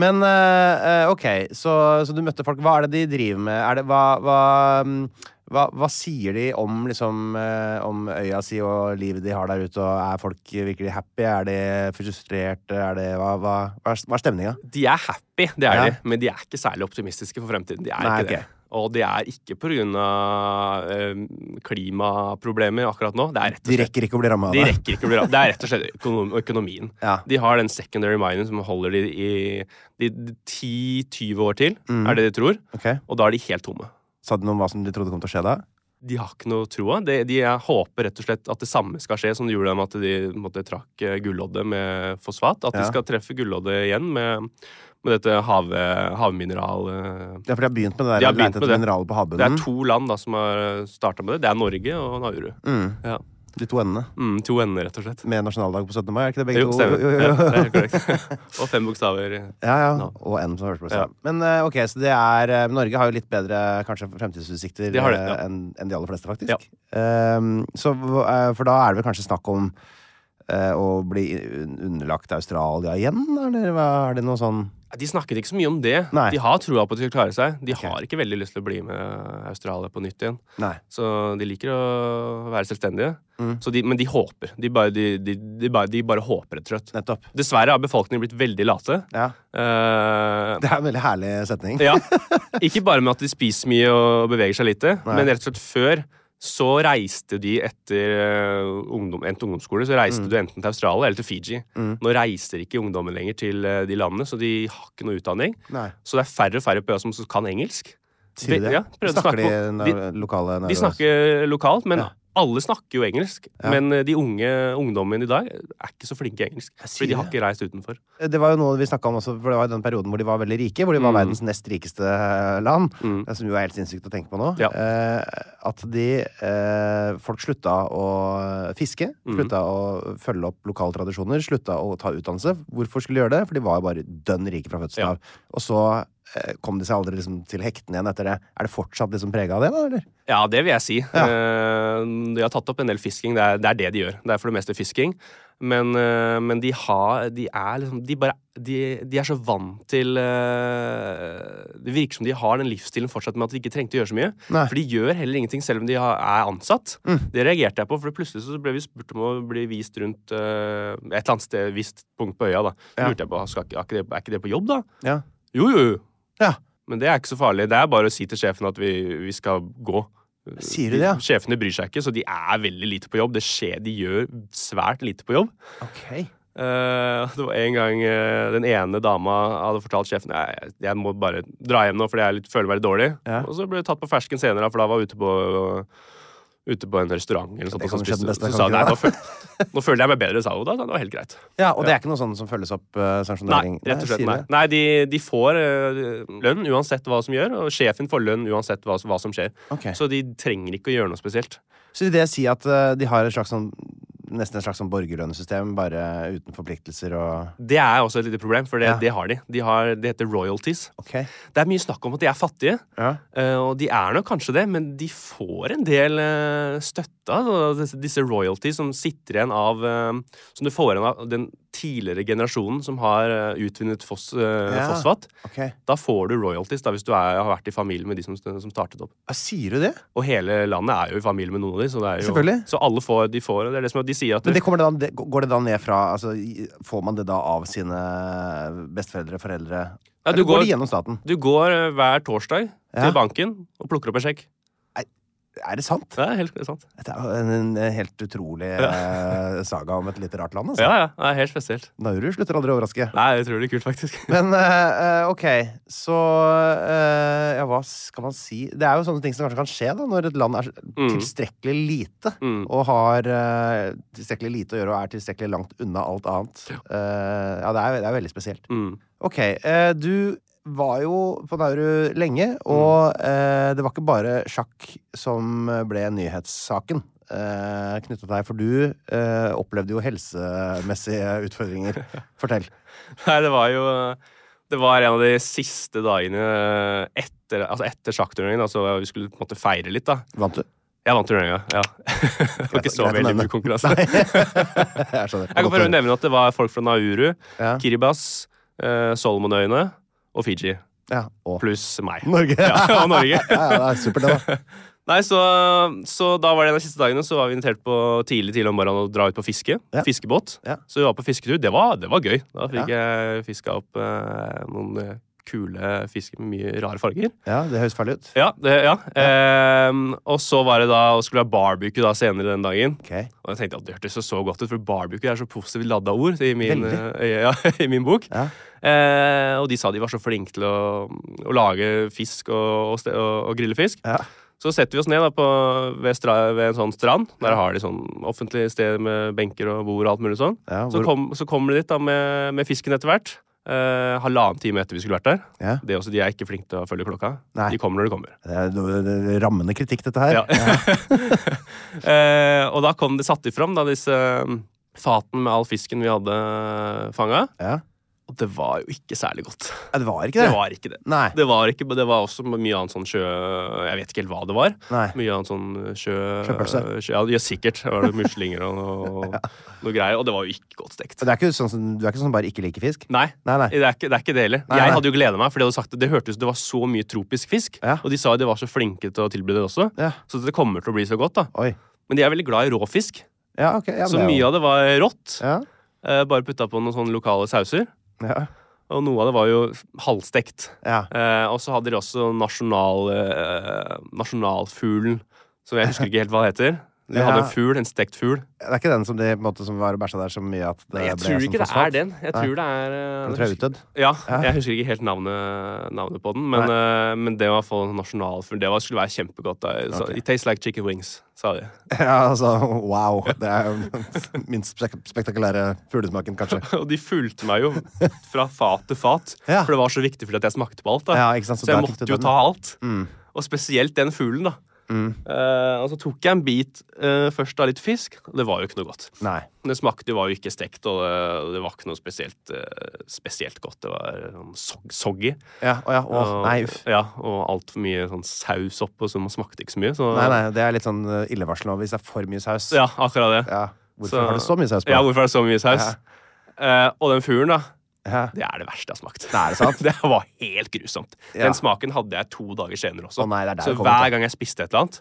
[SPEAKER 1] Men eh, eh, ok, så, så du møtte folk. Hva er det de driver med? Er det, hva, hva, mm, hva, hva sier de om, liksom, eh, om øya si og livet de har der ute? Og er folk virkelig happy? Er de frustrerte? Er det, hva, hva, hva er- hva er stemninga?
[SPEAKER 2] De er happy, det er
[SPEAKER 1] Ja.
[SPEAKER 2] de, men de er ikke særlig optimistiske for fremtiden. De er
[SPEAKER 1] Nei,
[SPEAKER 2] ikke
[SPEAKER 1] ok.
[SPEAKER 2] det. Og det er ikke pga. Eh, klimaproblemer akkurat nå. Det er rett og
[SPEAKER 1] De
[SPEAKER 2] slett
[SPEAKER 1] rekker ikke å bli ramma av
[SPEAKER 2] de
[SPEAKER 1] det.
[SPEAKER 2] rekker ikke å bli ramt. Det er rett og slett økonom, økonomien.
[SPEAKER 1] Ja.
[SPEAKER 2] De har den secondary minen som holder de i de, de 10-20 år til, er det de tror.
[SPEAKER 1] Mm. Ok.
[SPEAKER 2] Og da er de helt tomme.
[SPEAKER 1] Sa de noe om hva som de trodde kom til å skje da?
[SPEAKER 2] De har ikke noe troa. De, de håper rett og slett at det samme skal skje som det gjorde dem at de på en måte, trakk eh, gulloddet med fosfat. At
[SPEAKER 1] Ja.
[SPEAKER 2] de skal treffe gulloddet igjen med, med dette hav, havmineral... eh.
[SPEAKER 1] Ja, for de har begynt med det der
[SPEAKER 2] De har
[SPEAKER 1] å leite
[SPEAKER 2] begynt med
[SPEAKER 1] etter
[SPEAKER 2] det.
[SPEAKER 1] mineraler på
[SPEAKER 2] Det er
[SPEAKER 1] havbunnen.
[SPEAKER 2] to land da, som har starta med det. Det er Norge og Nauru. Ja.
[SPEAKER 1] De to endene.
[SPEAKER 2] Mm, to ender, rett og slett.
[SPEAKER 1] Mm. Med nasjonaldag på 17. mai, er ikke det begge
[SPEAKER 2] Jo,
[SPEAKER 1] to?
[SPEAKER 2] stemmer.
[SPEAKER 1] Jo, jo, jo.
[SPEAKER 2] Ja, det er korrekt. og fem bokstaver.
[SPEAKER 1] Ja, ja.
[SPEAKER 2] No.
[SPEAKER 1] Og N som førsteplass.
[SPEAKER 2] Ja.
[SPEAKER 1] Ja. Men eh, ok, så det er eh, Norge har jo litt bedre kanskje fremtidsutsikter
[SPEAKER 2] De har det,
[SPEAKER 1] eh,
[SPEAKER 2] ja.
[SPEAKER 1] enn enn de aller fleste, faktisk.
[SPEAKER 2] Ja.
[SPEAKER 1] Ehm, så, hva- eh, for da er det vel kanskje snakk om eh, å bli un- underlagt Australia igjen, eller hva, er det noe sånn
[SPEAKER 2] De snakket ikke så mye om det.
[SPEAKER 1] Nei.
[SPEAKER 2] De har trua på at de skal klare seg. De
[SPEAKER 1] Ok.
[SPEAKER 2] har ikke veldig lyst til å bli med Australia på nytt igjen.
[SPEAKER 1] Nei. Mm.
[SPEAKER 2] Så de liker å være selvstendige. Så de, men de håper. De bare, de, de, de bare, de bare håper, rett og slett.
[SPEAKER 1] Nettopp.
[SPEAKER 2] Dessverre har befolkningen blitt veldig late.
[SPEAKER 1] Ja.
[SPEAKER 2] Eh,
[SPEAKER 1] Det er en veldig herlig setning.
[SPEAKER 2] ja. Ikke bare med at de spiser mye og beveger seg lite,
[SPEAKER 1] Nei.
[SPEAKER 2] men rett og slett før så reiste de etter eh, ungdom, endt ungdomsskole så
[SPEAKER 1] Mm.
[SPEAKER 2] reiste du enten til Australia eller til Fiji. Nå reiser ikke ungdommen lenger til eh, de landene, så de har ikke noe utdanning.
[SPEAKER 1] Nei.
[SPEAKER 2] Så det er færre og færre på øya som som kan engelsk.
[SPEAKER 1] Sier de det?
[SPEAKER 2] Ja, prøvde
[SPEAKER 1] snakker
[SPEAKER 2] å snakke
[SPEAKER 1] de,
[SPEAKER 2] på-
[SPEAKER 1] na- lokale
[SPEAKER 2] De snakker eh, lokalt, men
[SPEAKER 1] Ja.
[SPEAKER 2] alle snakker jo engelsk, men eh, de unge ungdommene i dag er ikke så flinke i engelsk.
[SPEAKER 1] sier
[SPEAKER 2] Fordi de har ikke reist utenfor.
[SPEAKER 1] Eh, Det var jo noe vi snakket om også, for det var jo den perioden hvor de var veldig rike, hvor de
[SPEAKER 2] Mm.
[SPEAKER 1] var verdens nest rikeste land, eh, som jo er helt sinnssykt å tenke på nå.
[SPEAKER 2] Ja.
[SPEAKER 1] Eh, at de eh, Folk slutta å fiske,
[SPEAKER 2] Mm.
[SPEAKER 1] slutta å følge opp lokale tradisjoner, slutta å ta utdannelse. Hvorfor skulle de gjøre det? For de var jo bare dønn rike fra
[SPEAKER 2] Ja.
[SPEAKER 1] fødselen av. Og så eh, kom de seg aldri liksom, til hektene igjen etter det. Er det fortsatt liksom prega av det, da? Eller?
[SPEAKER 2] Ja, det vil jeg si. Eh, De har tatt opp en del fisking. Det er, det er det de gjør. Det er for det meste fisking. Men, eh, men de har De er liksom De, bare, de, de er så vant til eh, Det virker som de har den livsstilen fortsatt med at de ikke trengte å gjøre så mye.
[SPEAKER 1] Nei. Mm.
[SPEAKER 2] For de gjør heller ingenting selv om de har, er ansatt. Det reagerte jeg på, for plutselig så ble vi spurt om å bli vist rundt eh, et eller annet sted, visst punkt på øya. da. Så
[SPEAKER 1] Ja.
[SPEAKER 2] lurte jeg på skal, ikke- er, ikke det, er ikke det på jobb, da?
[SPEAKER 1] Ja.
[SPEAKER 2] Jo, jo, jo.
[SPEAKER 1] ja.
[SPEAKER 2] Men det er ikke så farlig. Det er bare å si til sjefen at vi, vi skal gå.
[SPEAKER 1] Sier du det, ja?
[SPEAKER 2] De- Sjefene bryr seg ikke, så de er veldig lite på jobb. Det skjer, De gjør svært lite på jobb.
[SPEAKER 1] Ok.
[SPEAKER 2] Eh, det var en gang eh, den ene dama hadde fortalt sjefen Nei, jeg må bare dra hjem nå fordi jeg er litt, føler meg litt dårlig.
[SPEAKER 1] Ja.
[SPEAKER 2] Og så ble jeg tatt på fersken senere, for da var jeg ute på Ute på en restaurant. Eller sånt,
[SPEAKER 1] det
[SPEAKER 2] og så
[SPEAKER 1] kan skje den
[SPEAKER 2] spiste-
[SPEAKER 1] beste, kan
[SPEAKER 2] så sa hun, nei, nå,
[SPEAKER 1] ikke
[SPEAKER 2] føl nå føler jeg meg bedre, sa hun da. så Det var helt greit.
[SPEAKER 1] Ja, Og det er ikke noe sånn som følges opp? eh, sanksjonering?
[SPEAKER 2] Nei, rett og slett
[SPEAKER 1] sier
[SPEAKER 2] nei.
[SPEAKER 1] du det?
[SPEAKER 2] nei de, de får eh, lønn uansett hva som gjør, og sjefen får lønn uansett hva, som- hva som skjer.
[SPEAKER 1] Ok.
[SPEAKER 2] Så de trenger ikke å gjøre noe spesielt.
[SPEAKER 1] Så vil det si at eh, de har et slags sånn Nesten et slags sånn borgerlønnsystem, bare uten forpliktelser og
[SPEAKER 2] Det er også et lite problem, for det,
[SPEAKER 1] Ja.
[SPEAKER 2] det har de. de har, det heter royalties.
[SPEAKER 1] Ok.
[SPEAKER 2] Det er mye snakk om at de er fattige,
[SPEAKER 1] Ja.
[SPEAKER 2] eh, og de er nok kanskje det, men de får en del eh, støtte. altså, disse- Disse royalties som sitter igjen av eh, Som du får igjen av den tidligere generasjonen som har eh, utvunnet fos, eh,
[SPEAKER 1] Ja.
[SPEAKER 2] fosfat.
[SPEAKER 1] Ok.
[SPEAKER 2] Da får du royalties da, hvis du er, har vært i familie med de som, som startet opp.
[SPEAKER 1] Ja, sier du det?
[SPEAKER 2] Og hele landet er jo i familie med noen av de, så, det er jo,
[SPEAKER 1] Selvfølgelig.
[SPEAKER 2] så alle får, de får det er det som er- de sier at
[SPEAKER 1] Men det kommer da, det, går det da ned fra altså, i- Får man det da av sine besteforeldre, foreldre?
[SPEAKER 2] Ja,
[SPEAKER 1] Eller
[SPEAKER 2] du
[SPEAKER 1] går,
[SPEAKER 2] går-
[SPEAKER 1] det gjennom staten?
[SPEAKER 2] du går eh, hver torsdag
[SPEAKER 1] Ja.
[SPEAKER 2] til banken og plukker opp en sjekk.
[SPEAKER 1] Er det sant?
[SPEAKER 2] Det er helt sant.
[SPEAKER 1] Dette er jo en, en helt utrolig eh, saga om et litt rart land,
[SPEAKER 2] Ja,
[SPEAKER 1] altså.
[SPEAKER 2] ja, det er helt spesielt.
[SPEAKER 1] Nauru slutter aldri å overraske.
[SPEAKER 2] Nei, jeg tror det er kult, faktisk.
[SPEAKER 1] Men eh, eh, ok, så eh, Ja, hva skal man si? Det er jo sånne ting som kanskje kan skje da når et land er tilstrekkelig lite
[SPEAKER 2] Mm.
[SPEAKER 1] og har eh, tilstrekkelig lite å gjøre og er tilstrekkelig langt unna alt annet. Eh, ja, det er, det er veldig spesielt.
[SPEAKER 2] Mm.
[SPEAKER 1] Ok, eh, du var jo på Nauru lenge, og eh, det var ikke bare sjakk som ble nyhetssaken. eh, knyttet til deg, for du eh, opplevde jo helsemessige utfordringer. Fortell.
[SPEAKER 2] Nei, det var jo eh, Det var en av de siste dagene eh, etter, altså etter sjakkturneringen. Altså, vi skulle på en måte feire litt, da.
[SPEAKER 1] Vant du?
[SPEAKER 2] Jeg vant turneringa, ja. Det var ikke så
[SPEAKER 1] Greit å
[SPEAKER 2] veldig
[SPEAKER 1] nevne.
[SPEAKER 2] mye konkurranse.
[SPEAKER 1] Nei. jeg skjønner.
[SPEAKER 2] Jeg kan bare nevne at det var folk fra Nauru,
[SPEAKER 1] Ja.
[SPEAKER 2] Kiribas, eh, Solomonøyene og Fiji.
[SPEAKER 1] Ja, og
[SPEAKER 2] Pluss meg.
[SPEAKER 1] Norge.
[SPEAKER 2] Ja, og Norge.
[SPEAKER 1] ja, ja, det er supert, det, da.
[SPEAKER 2] Nei, så, så da var det en av de siste dagene Så var vi invitert på tidlig tidlig om morgenen å dra ut på fiske.
[SPEAKER 1] Ja.
[SPEAKER 2] Fiskebåt.
[SPEAKER 1] Ja.
[SPEAKER 2] Så vi var på fisketur. Det var, det var gøy. Da fikk jeg fiska opp eh, noen eh, kule fisker med mye rare farger.
[SPEAKER 1] Ja, det høres farlig ut.
[SPEAKER 2] Ja, det, ja. Ehm, og så var det da å skulle ha barbecue da senere den dagen.
[SPEAKER 1] Ok.
[SPEAKER 2] Og jeg tenkte at det hørtes så, så godt ut, for barbecue er så positivt ladda ord i min,
[SPEAKER 1] Veldig.
[SPEAKER 2] eh, ja, i min bok.
[SPEAKER 1] Ja.
[SPEAKER 2] Eh, og de sa de var så flinke til å, å lage fisk og, og, ste- og, og grille fisk.
[SPEAKER 1] Ja.
[SPEAKER 2] Så setter vi oss ned da på, ved, stra, ved en sånn strand. Der har de sånn offentlig sted med benker og bord og alt mulig sånn.
[SPEAKER 1] Ja,
[SPEAKER 2] Så,
[SPEAKER 1] hvor-
[SPEAKER 2] kom, så kommer de dit da med, med fisken etter hvert. Eh, halvannen time etter vi skulle vært der.
[SPEAKER 1] Ja.
[SPEAKER 2] Det er også, De er ikke flinke til å følge klokka.
[SPEAKER 1] Nei.
[SPEAKER 2] De kommer når de kommer.
[SPEAKER 1] Det er noe- det er rammende kritikk, dette her.
[SPEAKER 2] Ja. eh, og da kom det satt de fram, da, disse mm, faten med all fisken vi hadde fanga.
[SPEAKER 1] Ja.
[SPEAKER 2] Og det var jo ikke særlig godt.
[SPEAKER 1] Ja, Det var ikke det.
[SPEAKER 2] Det var ikke det.
[SPEAKER 1] Nei.
[SPEAKER 2] Det var, ikke, det var også mye annet sånn sjø... Jeg vet ikke helt hva det var.
[SPEAKER 1] Nei.
[SPEAKER 2] Mye annet sånn sjø...
[SPEAKER 1] Sjøpølse.
[SPEAKER 2] sjø- Ja, ja, sikkert. Det var det muslinger og noe, noe greier. Og det var jo ikke godt stekt.
[SPEAKER 1] Så det er ikke sånn, som- du er ikke sånn som bare ikke liker fisk?
[SPEAKER 2] Nei,
[SPEAKER 1] Nei, nei.
[SPEAKER 2] Det, er ikke, det er ikke det heller.
[SPEAKER 1] Nei, nei.
[SPEAKER 2] Jeg hadde jo gleda meg, for de hadde sagt at det hørtes det var så mye tropisk fisk.
[SPEAKER 1] Ja.
[SPEAKER 2] Og de sa de var så flinke til å tilby det også.
[SPEAKER 1] Ja.
[SPEAKER 2] Så det kommer til å bli så godt, da.
[SPEAKER 1] Oi.
[SPEAKER 2] Men de er veldig glad i rå fisk.
[SPEAKER 1] Ja, ok. Ja,
[SPEAKER 2] Så mye av det var rått.
[SPEAKER 1] Ja.
[SPEAKER 2] Eh, bare putta på noen sånne lokale sauser.
[SPEAKER 1] Ja.
[SPEAKER 2] Og noe av det var jo halvstekt.
[SPEAKER 1] Ja.
[SPEAKER 2] Eh, og så hadde de også nasjonal, eh, nasjonalfuglen, som jeg husker ikke helt hva det heter. De
[SPEAKER 1] Ja.
[SPEAKER 2] hadde en fugl, en stekt fugl.
[SPEAKER 1] Det er ikke den som, de, på en måte, som var og bæsja der så mye at det
[SPEAKER 2] Nei, jeg
[SPEAKER 1] ble
[SPEAKER 2] tror
[SPEAKER 1] som
[SPEAKER 2] ikke det
[SPEAKER 1] fosfat?
[SPEAKER 2] er den. Jeg
[SPEAKER 1] Nei.
[SPEAKER 2] tror det er eh,
[SPEAKER 1] Den tror jeg er utdødd.
[SPEAKER 2] Ja, jeg husker ikke helt navnet, navnet på den, men, eh, men det var i hvert fall nasjonalfugl. Det var, skulle være kjempegodt. Da. Så, It tastes like chicken wings, sa de.
[SPEAKER 1] Ja, altså, wow. Det er jo den minst spek spektakulære fuglesmaken, kanskje.
[SPEAKER 2] Og de fulgte meg jo fra fat til fat,
[SPEAKER 1] Ja.
[SPEAKER 2] for det var så viktig fordi at jeg smakte på alt. Da.
[SPEAKER 1] Ja, ikke sant, så
[SPEAKER 2] Så, jeg
[SPEAKER 1] der fikk du
[SPEAKER 2] måtte jo
[SPEAKER 1] den. Mm.
[SPEAKER 2] ta alt. Og spesielt den fuglen, da. Eh, og så tok jeg en bit eh, først av litt fisk. og Det var jo ikke noe godt.
[SPEAKER 1] Nei.
[SPEAKER 2] Men Det smakte jo var jo ikke stekt, og det, det var ikke noe spesielt, eh, spesielt godt. Det var sånn sog- soggy.
[SPEAKER 1] Ja, å, ja. Å, nei, uff.
[SPEAKER 2] Ja, og altfor mye sånn saus oppå, så man smakte ikke så mye. Så,
[SPEAKER 1] Nei, nei, det er litt sånn eh, illevarslende hvis det er for mye saus.
[SPEAKER 2] Ja, akkurat det.
[SPEAKER 1] Ja, Hvorfor
[SPEAKER 2] Så-
[SPEAKER 1] har du så mye saus på?
[SPEAKER 2] Ja, hvorfor er det så mye saus?
[SPEAKER 1] Ja.
[SPEAKER 2] Eh, og den fuglen, da.
[SPEAKER 1] Ja.
[SPEAKER 2] Det er det verste jeg har smakt.
[SPEAKER 1] Nei, er det sant?
[SPEAKER 2] Det var helt grusomt.
[SPEAKER 1] Ja.
[SPEAKER 2] Den smaken hadde jeg to dager senere også.
[SPEAKER 1] Å nei, det er der
[SPEAKER 2] så
[SPEAKER 1] det kommer til.
[SPEAKER 2] hver gang jeg spiste et eller annet,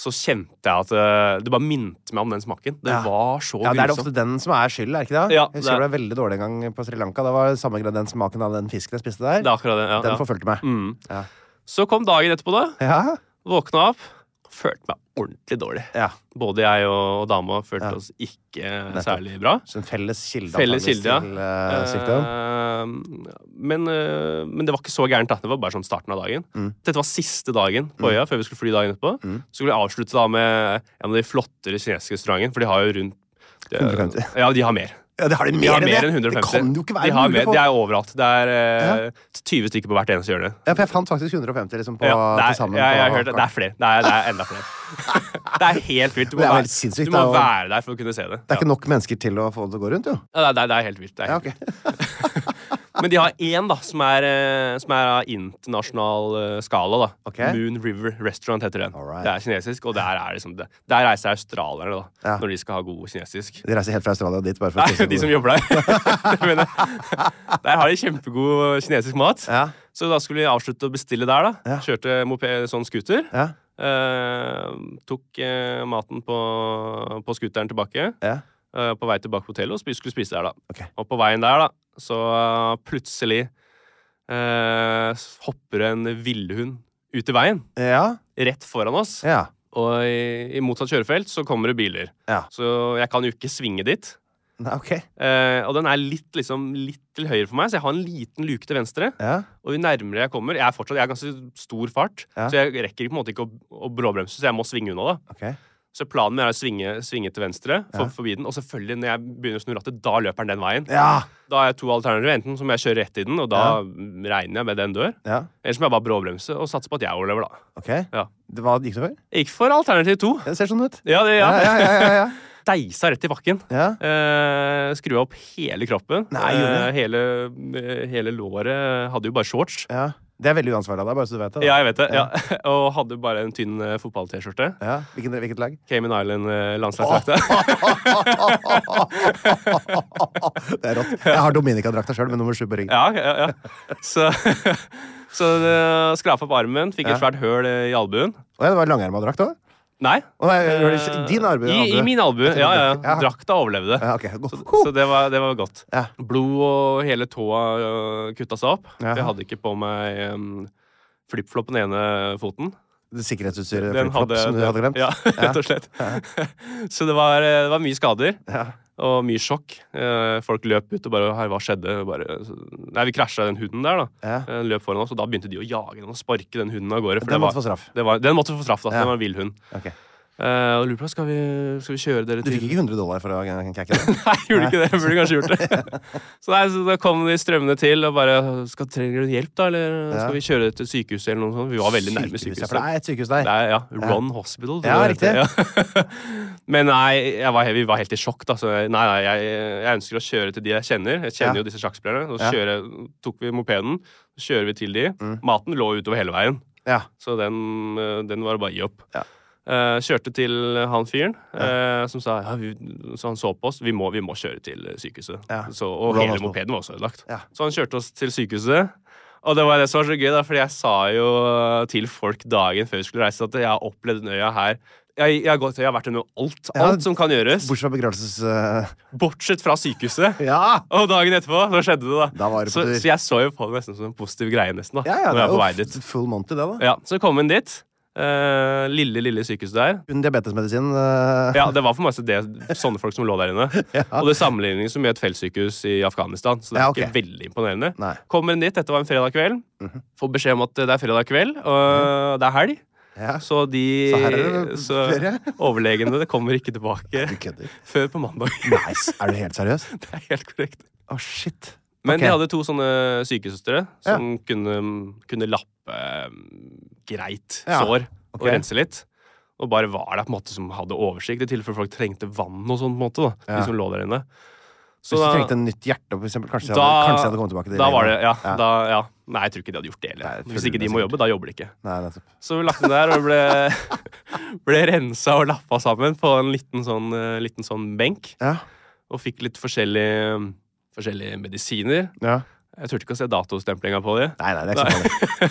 [SPEAKER 2] så kjente jeg at eh, Det bare minnet meg om den smaken. Det
[SPEAKER 1] Ja.
[SPEAKER 2] var så
[SPEAKER 1] Ja, det er det ofte
[SPEAKER 2] grusomt.
[SPEAKER 1] den som er skyld, er ikke det?
[SPEAKER 2] Ja,
[SPEAKER 1] jeg
[SPEAKER 2] det
[SPEAKER 1] husker
[SPEAKER 2] er-
[SPEAKER 1] det ble veldig dårlig en gang på Sri Lanka. Det var samme grad den smaken av den fisken jeg spiste der.
[SPEAKER 2] Det er akkurat det. Ja,
[SPEAKER 1] den
[SPEAKER 2] ja.
[SPEAKER 1] forfulgte meg.
[SPEAKER 2] Mm.
[SPEAKER 1] Ja.
[SPEAKER 2] Så kom dagen etterpå, da.
[SPEAKER 1] Ja,
[SPEAKER 2] Våkna opp. Følte meg ordentlig dårlig.
[SPEAKER 1] ja.
[SPEAKER 2] Både jeg og, og dama følte
[SPEAKER 1] Ja.
[SPEAKER 2] oss ikke særlig bra.
[SPEAKER 1] Så en felles kilde
[SPEAKER 2] Felles
[SPEAKER 1] antageligvis,
[SPEAKER 2] kilde,
[SPEAKER 1] til
[SPEAKER 2] ja.
[SPEAKER 1] eh, sykdom.
[SPEAKER 2] Eh, men, eh, men det var ikke så gærent. da Det var bare sånn starten av dagen.
[SPEAKER 1] Mm.
[SPEAKER 2] Dette var siste dagen på øya før vi skulle fly dagen etterpå. Så skulle jeg avslutte da med en av de flottere kinesiske restaurantene, for de har jo rundt de,
[SPEAKER 1] 150.
[SPEAKER 2] Ja, de har mer.
[SPEAKER 1] Ja, det har de
[SPEAKER 2] De
[SPEAKER 1] mer,
[SPEAKER 2] har mer enn
[SPEAKER 1] enn det!
[SPEAKER 2] 150.
[SPEAKER 1] Det kan jo ikke
[SPEAKER 2] de
[SPEAKER 1] være
[SPEAKER 2] har
[SPEAKER 1] mulig
[SPEAKER 2] mer,
[SPEAKER 1] for
[SPEAKER 2] Det er jo overalt. Det er eh, 20 stykker på hvert eneste hjørne.
[SPEAKER 1] Ja, for jeg fant faktisk 150 liksom på
[SPEAKER 2] Ja, det,
[SPEAKER 1] til
[SPEAKER 2] er,
[SPEAKER 1] sammen.
[SPEAKER 2] ja, jeg har
[SPEAKER 1] på-
[SPEAKER 2] hørt det. det er flere. Det er, det er enda flere. det er helt vilt. Du må,
[SPEAKER 1] Det er
[SPEAKER 2] være-
[SPEAKER 1] helt sinnssykt,
[SPEAKER 2] du
[SPEAKER 1] det
[SPEAKER 2] må
[SPEAKER 1] er jo-
[SPEAKER 2] være der for å kunne se det.
[SPEAKER 1] Det er
[SPEAKER 2] Ja.
[SPEAKER 1] ikke nok mennesker til å få det til å gå rundt, jo.
[SPEAKER 2] Ja, det, er, det er helt vilt. Det er
[SPEAKER 1] Ja,
[SPEAKER 2] helt
[SPEAKER 1] ok.
[SPEAKER 2] Men de har én da, som er, eh, som er av internasjonal eh, skala. da.
[SPEAKER 1] Ok.
[SPEAKER 2] Moon River Restaurant heter den.
[SPEAKER 1] Alright.
[SPEAKER 2] Det er kinesisk, og der, er liksom det. der reiser australierne da,
[SPEAKER 1] Ja.
[SPEAKER 2] når de skal ha god kinesisk.
[SPEAKER 1] De reiser helt fra Australia dit bare for
[SPEAKER 2] Nei, de som
[SPEAKER 1] god-
[SPEAKER 2] jobber der. Det mener jeg. der har de kjempegod kinesisk mat.
[SPEAKER 1] Ja.
[SPEAKER 2] Så da skulle vi avslutte å bestille der. da.
[SPEAKER 1] Ja.
[SPEAKER 2] Kjørte moped, sånn scooter.
[SPEAKER 1] Ja.
[SPEAKER 2] Eh, tok eh, maten på, på scooteren tilbake.
[SPEAKER 1] Ja.
[SPEAKER 2] Eh, på vei tilbake på hotellet og spi- skulle spise der, da.
[SPEAKER 1] Ok.
[SPEAKER 2] Og på veien der, da, så eh, plutselig eh, hopper en villhund ut i veien,
[SPEAKER 1] Ja.
[SPEAKER 2] rett foran oss.
[SPEAKER 1] Ja.
[SPEAKER 2] Og i, i motsatt kjørefelt så kommer det biler.
[SPEAKER 1] Ja.
[SPEAKER 2] Så jeg kan jo ikke svinge dit.
[SPEAKER 1] Nei, ok.
[SPEAKER 2] Eh, og den er litt, liksom, litt til høyre for meg, så jeg har en liten luke til venstre.
[SPEAKER 1] Ja.
[SPEAKER 2] Og jo nærmere jeg kommer Jeg er fortsatt, jeg har ganske stor fart,
[SPEAKER 1] Ja.
[SPEAKER 2] så jeg rekker på en måte ikke å, å bråbremse, så jeg må svinge unna. da
[SPEAKER 1] Ok.
[SPEAKER 2] så planen min er å svinge, svinge til venstre, for,
[SPEAKER 1] Ja.
[SPEAKER 2] forbi den. Og selvfølgelig, når jeg begynner å snu rattet, da løper den den veien.
[SPEAKER 1] Ja.
[SPEAKER 2] Da har jeg to alternativer. Enten så må jeg kjøre rett i den, og da mm, regner jeg med den dør.
[SPEAKER 1] Ja.
[SPEAKER 2] Eller så må jeg bare bråbremse og satse på at jeg overlever, da.
[SPEAKER 1] Ok.
[SPEAKER 2] Ja.
[SPEAKER 1] Det, hva gikk det for?
[SPEAKER 2] Jeg gikk for alternativ to.
[SPEAKER 1] Det ser sånn ut.
[SPEAKER 2] Ja, det, ja.
[SPEAKER 1] Ja, ja, ja. ja, ja.
[SPEAKER 2] Deisa rett i bakken.
[SPEAKER 1] Ja.
[SPEAKER 2] Eh, Skru opp hele kroppen.
[SPEAKER 1] Nei, gjorde
[SPEAKER 2] hele, eh, hele låret hadde jo bare shorts.
[SPEAKER 1] ja. Det er veldig uansvarlig av deg, bare så du vet det. da.
[SPEAKER 2] Ja, jeg vet det. Ja. Og hadde bare en tynn eh, fotball-T-skjorte.
[SPEAKER 1] Ja. Hvilken, hvilket lag?
[SPEAKER 2] Cayman eh, Island-landslagsdrakta.
[SPEAKER 1] det er rått. Jeg har Dominica-drakta sjøl, med nummer sju på ryggen.
[SPEAKER 2] Ja, ja, ja. Så, så det- skrapet opp armen, fikk et
[SPEAKER 1] Ja.
[SPEAKER 2] svært høl eh, i albuen.
[SPEAKER 1] Å ja, det var langerma drakt òg?
[SPEAKER 2] Nei.
[SPEAKER 1] Å nei,
[SPEAKER 2] eh,
[SPEAKER 1] var det ikke- din albu-
[SPEAKER 2] I, I
[SPEAKER 1] albu?
[SPEAKER 2] min albue, ja. ja.
[SPEAKER 1] Ja.
[SPEAKER 2] Drakta overlevde.
[SPEAKER 1] Ja, ok. Go-
[SPEAKER 2] Så, så det, var, det var godt.
[SPEAKER 1] Ja.
[SPEAKER 2] Blod og hele tåa eh, kutta seg opp.
[SPEAKER 1] Jaha.
[SPEAKER 2] Jeg hadde ikke på meg um, flipflop på den ene foten.
[SPEAKER 1] Det Sikkerhetsutstyret
[SPEAKER 2] Den
[SPEAKER 1] flip-flop som du
[SPEAKER 2] den-
[SPEAKER 1] hadde glemt?
[SPEAKER 2] Ja, rett og slett. Så det var, eh, det var mye skader.
[SPEAKER 1] Ja.
[SPEAKER 2] Og mye sjokk. Eh, Folk løp ut og bare Her, hva skjedde? Bare, nei, vi krasja den hunden der, da.
[SPEAKER 1] Ja.
[SPEAKER 2] Den løp foran oss, og da begynte de å jage den og sparke den hunden av gårde. for
[SPEAKER 1] Den
[SPEAKER 2] det var-
[SPEAKER 1] måtte få straff.
[SPEAKER 2] Det var, den måtte få straff, da.
[SPEAKER 1] Ja.
[SPEAKER 2] Den var en villhund.
[SPEAKER 1] Ok.
[SPEAKER 2] Eh, og lurer på, skal vi, skal vi kjøre
[SPEAKER 1] Du
[SPEAKER 2] dere til
[SPEAKER 1] fikk ikke 100 dollar for å kakke det?
[SPEAKER 2] Nei, jeg gjorde ikke det. Jeg burde kanskje gjort det. Så, nei, så da kom de strømmende til og bare skal, Trenger du hjelp, da? Eller
[SPEAKER 1] Ja.
[SPEAKER 2] skal vi kjøre dere til sykehuset, eller noe sånt? Vi var veldig nærme
[SPEAKER 1] Sykehus,
[SPEAKER 2] sykehuset.
[SPEAKER 1] ja, For det er et sykehus der.
[SPEAKER 2] Det er, ja, Ron Hospital. tror
[SPEAKER 1] Ja,
[SPEAKER 2] jeg det heter, ja. Men nei, jeg var, vi var helt i sjokk. Da, så jeg- nei, nei, jeg, jeg ønsker å kjøre til de jeg kjenner. Jeg kjenner
[SPEAKER 1] Ja.
[SPEAKER 2] jo disse sjakkspillerne. Så
[SPEAKER 1] Ja. Mm.
[SPEAKER 2] kjører, tok vi mopeden, så kjører vi til de. Maten lå utover hele veien,
[SPEAKER 1] Ja.
[SPEAKER 2] så den, eh, den var det bare å gi opp.
[SPEAKER 1] Ja.
[SPEAKER 2] Eh, kjørte til han fyren eh, som sa ja, vi, Så han så på oss. Vi må, vi må kjøre til eh, sykehuset.
[SPEAKER 1] Ja.
[SPEAKER 2] Så, og
[SPEAKER 1] Ron
[SPEAKER 2] hele
[SPEAKER 1] Hospital.
[SPEAKER 2] mopeden var også ødelagt.
[SPEAKER 1] Ja.
[SPEAKER 2] Så han kjørte oss til sykehuset. Og det var det som var så gøy, da, fordi jeg sa jo eh, til folk dagen før vi skulle reise, at jeg har opplevd den øya her. Jeg, jeg, har gått, jeg har vært under alt.
[SPEAKER 1] Ja,
[SPEAKER 2] Alt som kan gjøres.
[SPEAKER 1] Bortsett fra begravelses... eh,
[SPEAKER 2] Bortsett fra sykehuset.
[SPEAKER 1] Ja!
[SPEAKER 2] Og dagen etterpå, så skjedde det,
[SPEAKER 1] Da
[SPEAKER 2] da.
[SPEAKER 1] var det på
[SPEAKER 2] så,
[SPEAKER 1] tur.
[SPEAKER 2] så jeg så jo på det nesten som en positiv greie, nesten, da.
[SPEAKER 1] Ja, ja,
[SPEAKER 2] når
[SPEAKER 1] det
[SPEAKER 2] jeg var på vei
[SPEAKER 1] er jo
[SPEAKER 2] dit.
[SPEAKER 1] f- full monty, det, da.
[SPEAKER 2] Ja, så kom hun dit. Eh, lille, lille sykehus der.
[SPEAKER 1] Kun diabetesmedisin. eh,
[SPEAKER 2] Ja, Det var for masse det, sånne folk som lå der inne. Og det sammenlignes med et feltsykehus i Afghanistan. Så det er
[SPEAKER 1] Ja, ok.
[SPEAKER 2] ikke veldig imponerende.
[SPEAKER 1] Nei. Mhm.
[SPEAKER 2] Kommer inn dit, dette var en fredag kveld. Får beskjed om at det er fredag kveld, og det er helg.
[SPEAKER 1] Ja.
[SPEAKER 2] Så de
[SPEAKER 1] Så her er det
[SPEAKER 2] så
[SPEAKER 1] ferie.
[SPEAKER 2] overlegene det kommer ikke tilbake
[SPEAKER 1] Du kødder.
[SPEAKER 2] før på mandag.
[SPEAKER 1] Nei, s- er du helt seriøs?
[SPEAKER 2] Det er helt korrekt.
[SPEAKER 1] Å, shit.
[SPEAKER 2] Men
[SPEAKER 1] Ok.
[SPEAKER 2] de hadde to sånne sykesøstre som kunne, kunne lappe eh, greit
[SPEAKER 1] Ja,
[SPEAKER 2] sår og
[SPEAKER 1] ok.
[SPEAKER 2] rense litt. Og bare var der på en måte som hadde oversikt, i tilfelle folk trengte vann og sånn. på en måte da,
[SPEAKER 1] Ja.
[SPEAKER 2] de som lå der inne. Så
[SPEAKER 1] Hvis du
[SPEAKER 2] da-
[SPEAKER 1] trengte en nytt hjerte, for eksempel, kanskje, jeg
[SPEAKER 2] da,
[SPEAKER 1] hadde, kanskje jeg hadde kommet tilbake til
[SPEAKER 2] da var det, ja,
[SPEAKER 1] Ja.
[SPEAKER 2] Da, ja. Nei, jeg tror ikke de hadde gjort det
[SPEAKER 1] Nei,
[SPEAKER 2] heller.
[SPEAKER 1] jeg
[SPEAKER 2] Hvis
[SPEAKER 1] føler
[SPEAKER 2] ikke de
[SPEAKER 1] det
[SPEAKER 2] må
[SPEAKER 1] sikkert.
[SPEAKER 2] jobbe, da jobber de ikke.
[SPEAKER 1] Nei, nettopp.
[SPEAKER 2] Så vi lagt den der og ble, ble rensa og lappa sammen på en liten sånn, eh, liten sånn benk.
[SPEAKER 1] Ja.
[SPEAKER 2] Og fikk litt forskjellige, forskjellige medisiner.
[SPEAKER 1] ja.
[SPEAKER 2] Jeg turte ikke å se datostemplinga på de.
[SPEAKER 1] Nei, nei, det er ikke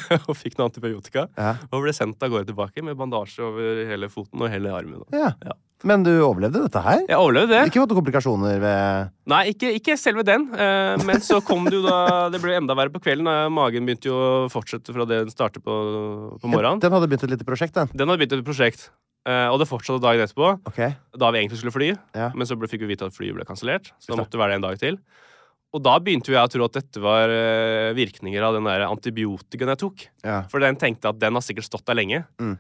[SPEAKER 1] sånn.
[SPEAKER 2] og fikk noe antibiotika.
[SPEAKER 1] Ja.
[SPEAKER 2] Og ble sendt av gårde tilbake med bandasje over hele foten og hele armen.
[SPEAKER 1] Ja.
[SPEAKER 2] Ja.
[SPEAKER 1] Men du overlevde dette her?
[SPEAKER 2] Jeg overlevde det.
[SPEAKER 1] Ikke fått noen komplikasjoner ved
[SPEAKER 2] Nei, ikke, ikke selve den. eh, men så kom det jo da Det ble enda verre på kvelden. Da magen begynte jo å fortsette fra det den startet på, på morgenen.
[SPEAKER 1] Den hadde begynt et lite prosjekt, den.
[SPEAKER 2] Den hadde begynt et prosjekt, eh, og det fortsatte dagen etterpå.
[SPEAKER 1] Ok.
[SPEAKER 2] Da vi egentlig skulle fly,
[SPEAKER 1] Ja.
[SPEAKER 2] men så ble, fikk vi vite at flyet ble kansellert. Så da måtte det være det en dag til. Og da begynte jo jeg å tro at dette var eh, virkninger av den der antibiotikaen jeg tok.
[SPEAKER 1] Ja.
[SPEAKER 2] For den tenkte at den har sikkert stått der lenge.
[SPEAKER 1] Mm.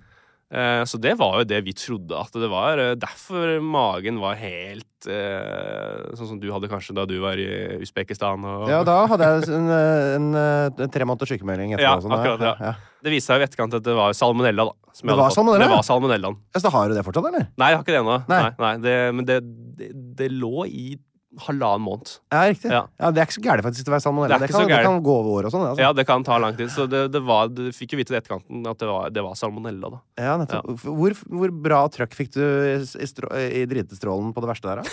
[SPEAKER 2] Eh, Så det var jo det vi trodde at det var. eh, Derfor magen var helt eh, sånn som du hadde kanskje da du var i Usbekistan. Og
[SPEAKER 1] ja, da hadde jeg en, en, en tre måneders sykemelding etterpå.
[SPEAKER 2] Ja,
[SPEAKER 1] og sånn, ja.
[SPEAKER 2] akkurat, ja.
[SPEAKER 1] Ja, ja.
[SPEAKER 2] Det viste seg jo i etterkant at det var salmonella. da som jeg
[SPEAKER 1] Det
[SPEAKER 2] hadde
[SPEAKER 1] var
[SPEAKER 2] fått.
[SPEAKER 1] salmonella?
[SPEAKER 2] Det var salmonellaen.
[SPEAKER 1] Ja, Så da har du det fortsatt, eller?
[SPEAKER 2] Nei, jeg har ikke det ennå. Nei.
[SPEAKER 1] Nei.
[SPEAKER 2] Nei, det, men det, det, det lå i halvannen måned.
[SPEAKER 1] Ja, riktig. Ja.
[SPEAKER 2] Ja.
[SPEAKER 1] Det er ikke så gærent faktisk til å være salmonella.
[SPEAKER 2] Det er
[SPEAKER 1] Det,
[SPEAKER 2] ikke
[SPEAKER 1] kan,
[SPEAKER 2] så
[SPEAKER 1] det
[SPEAKER 2] gærent.
[SPEAKER 1] kan gå over år og sånn. Altså.
[SPEAKER 2] Ja, det kan ta lang tid. Så det, det var, du fikk jo vite i etterkanten at det var, det var salmonella, da.
[SPEAKER 1] Ja, nettopp. Hvor, hvor bra trøkk fikk du i, s- i, strå- i dritestrålen på det verste der, da?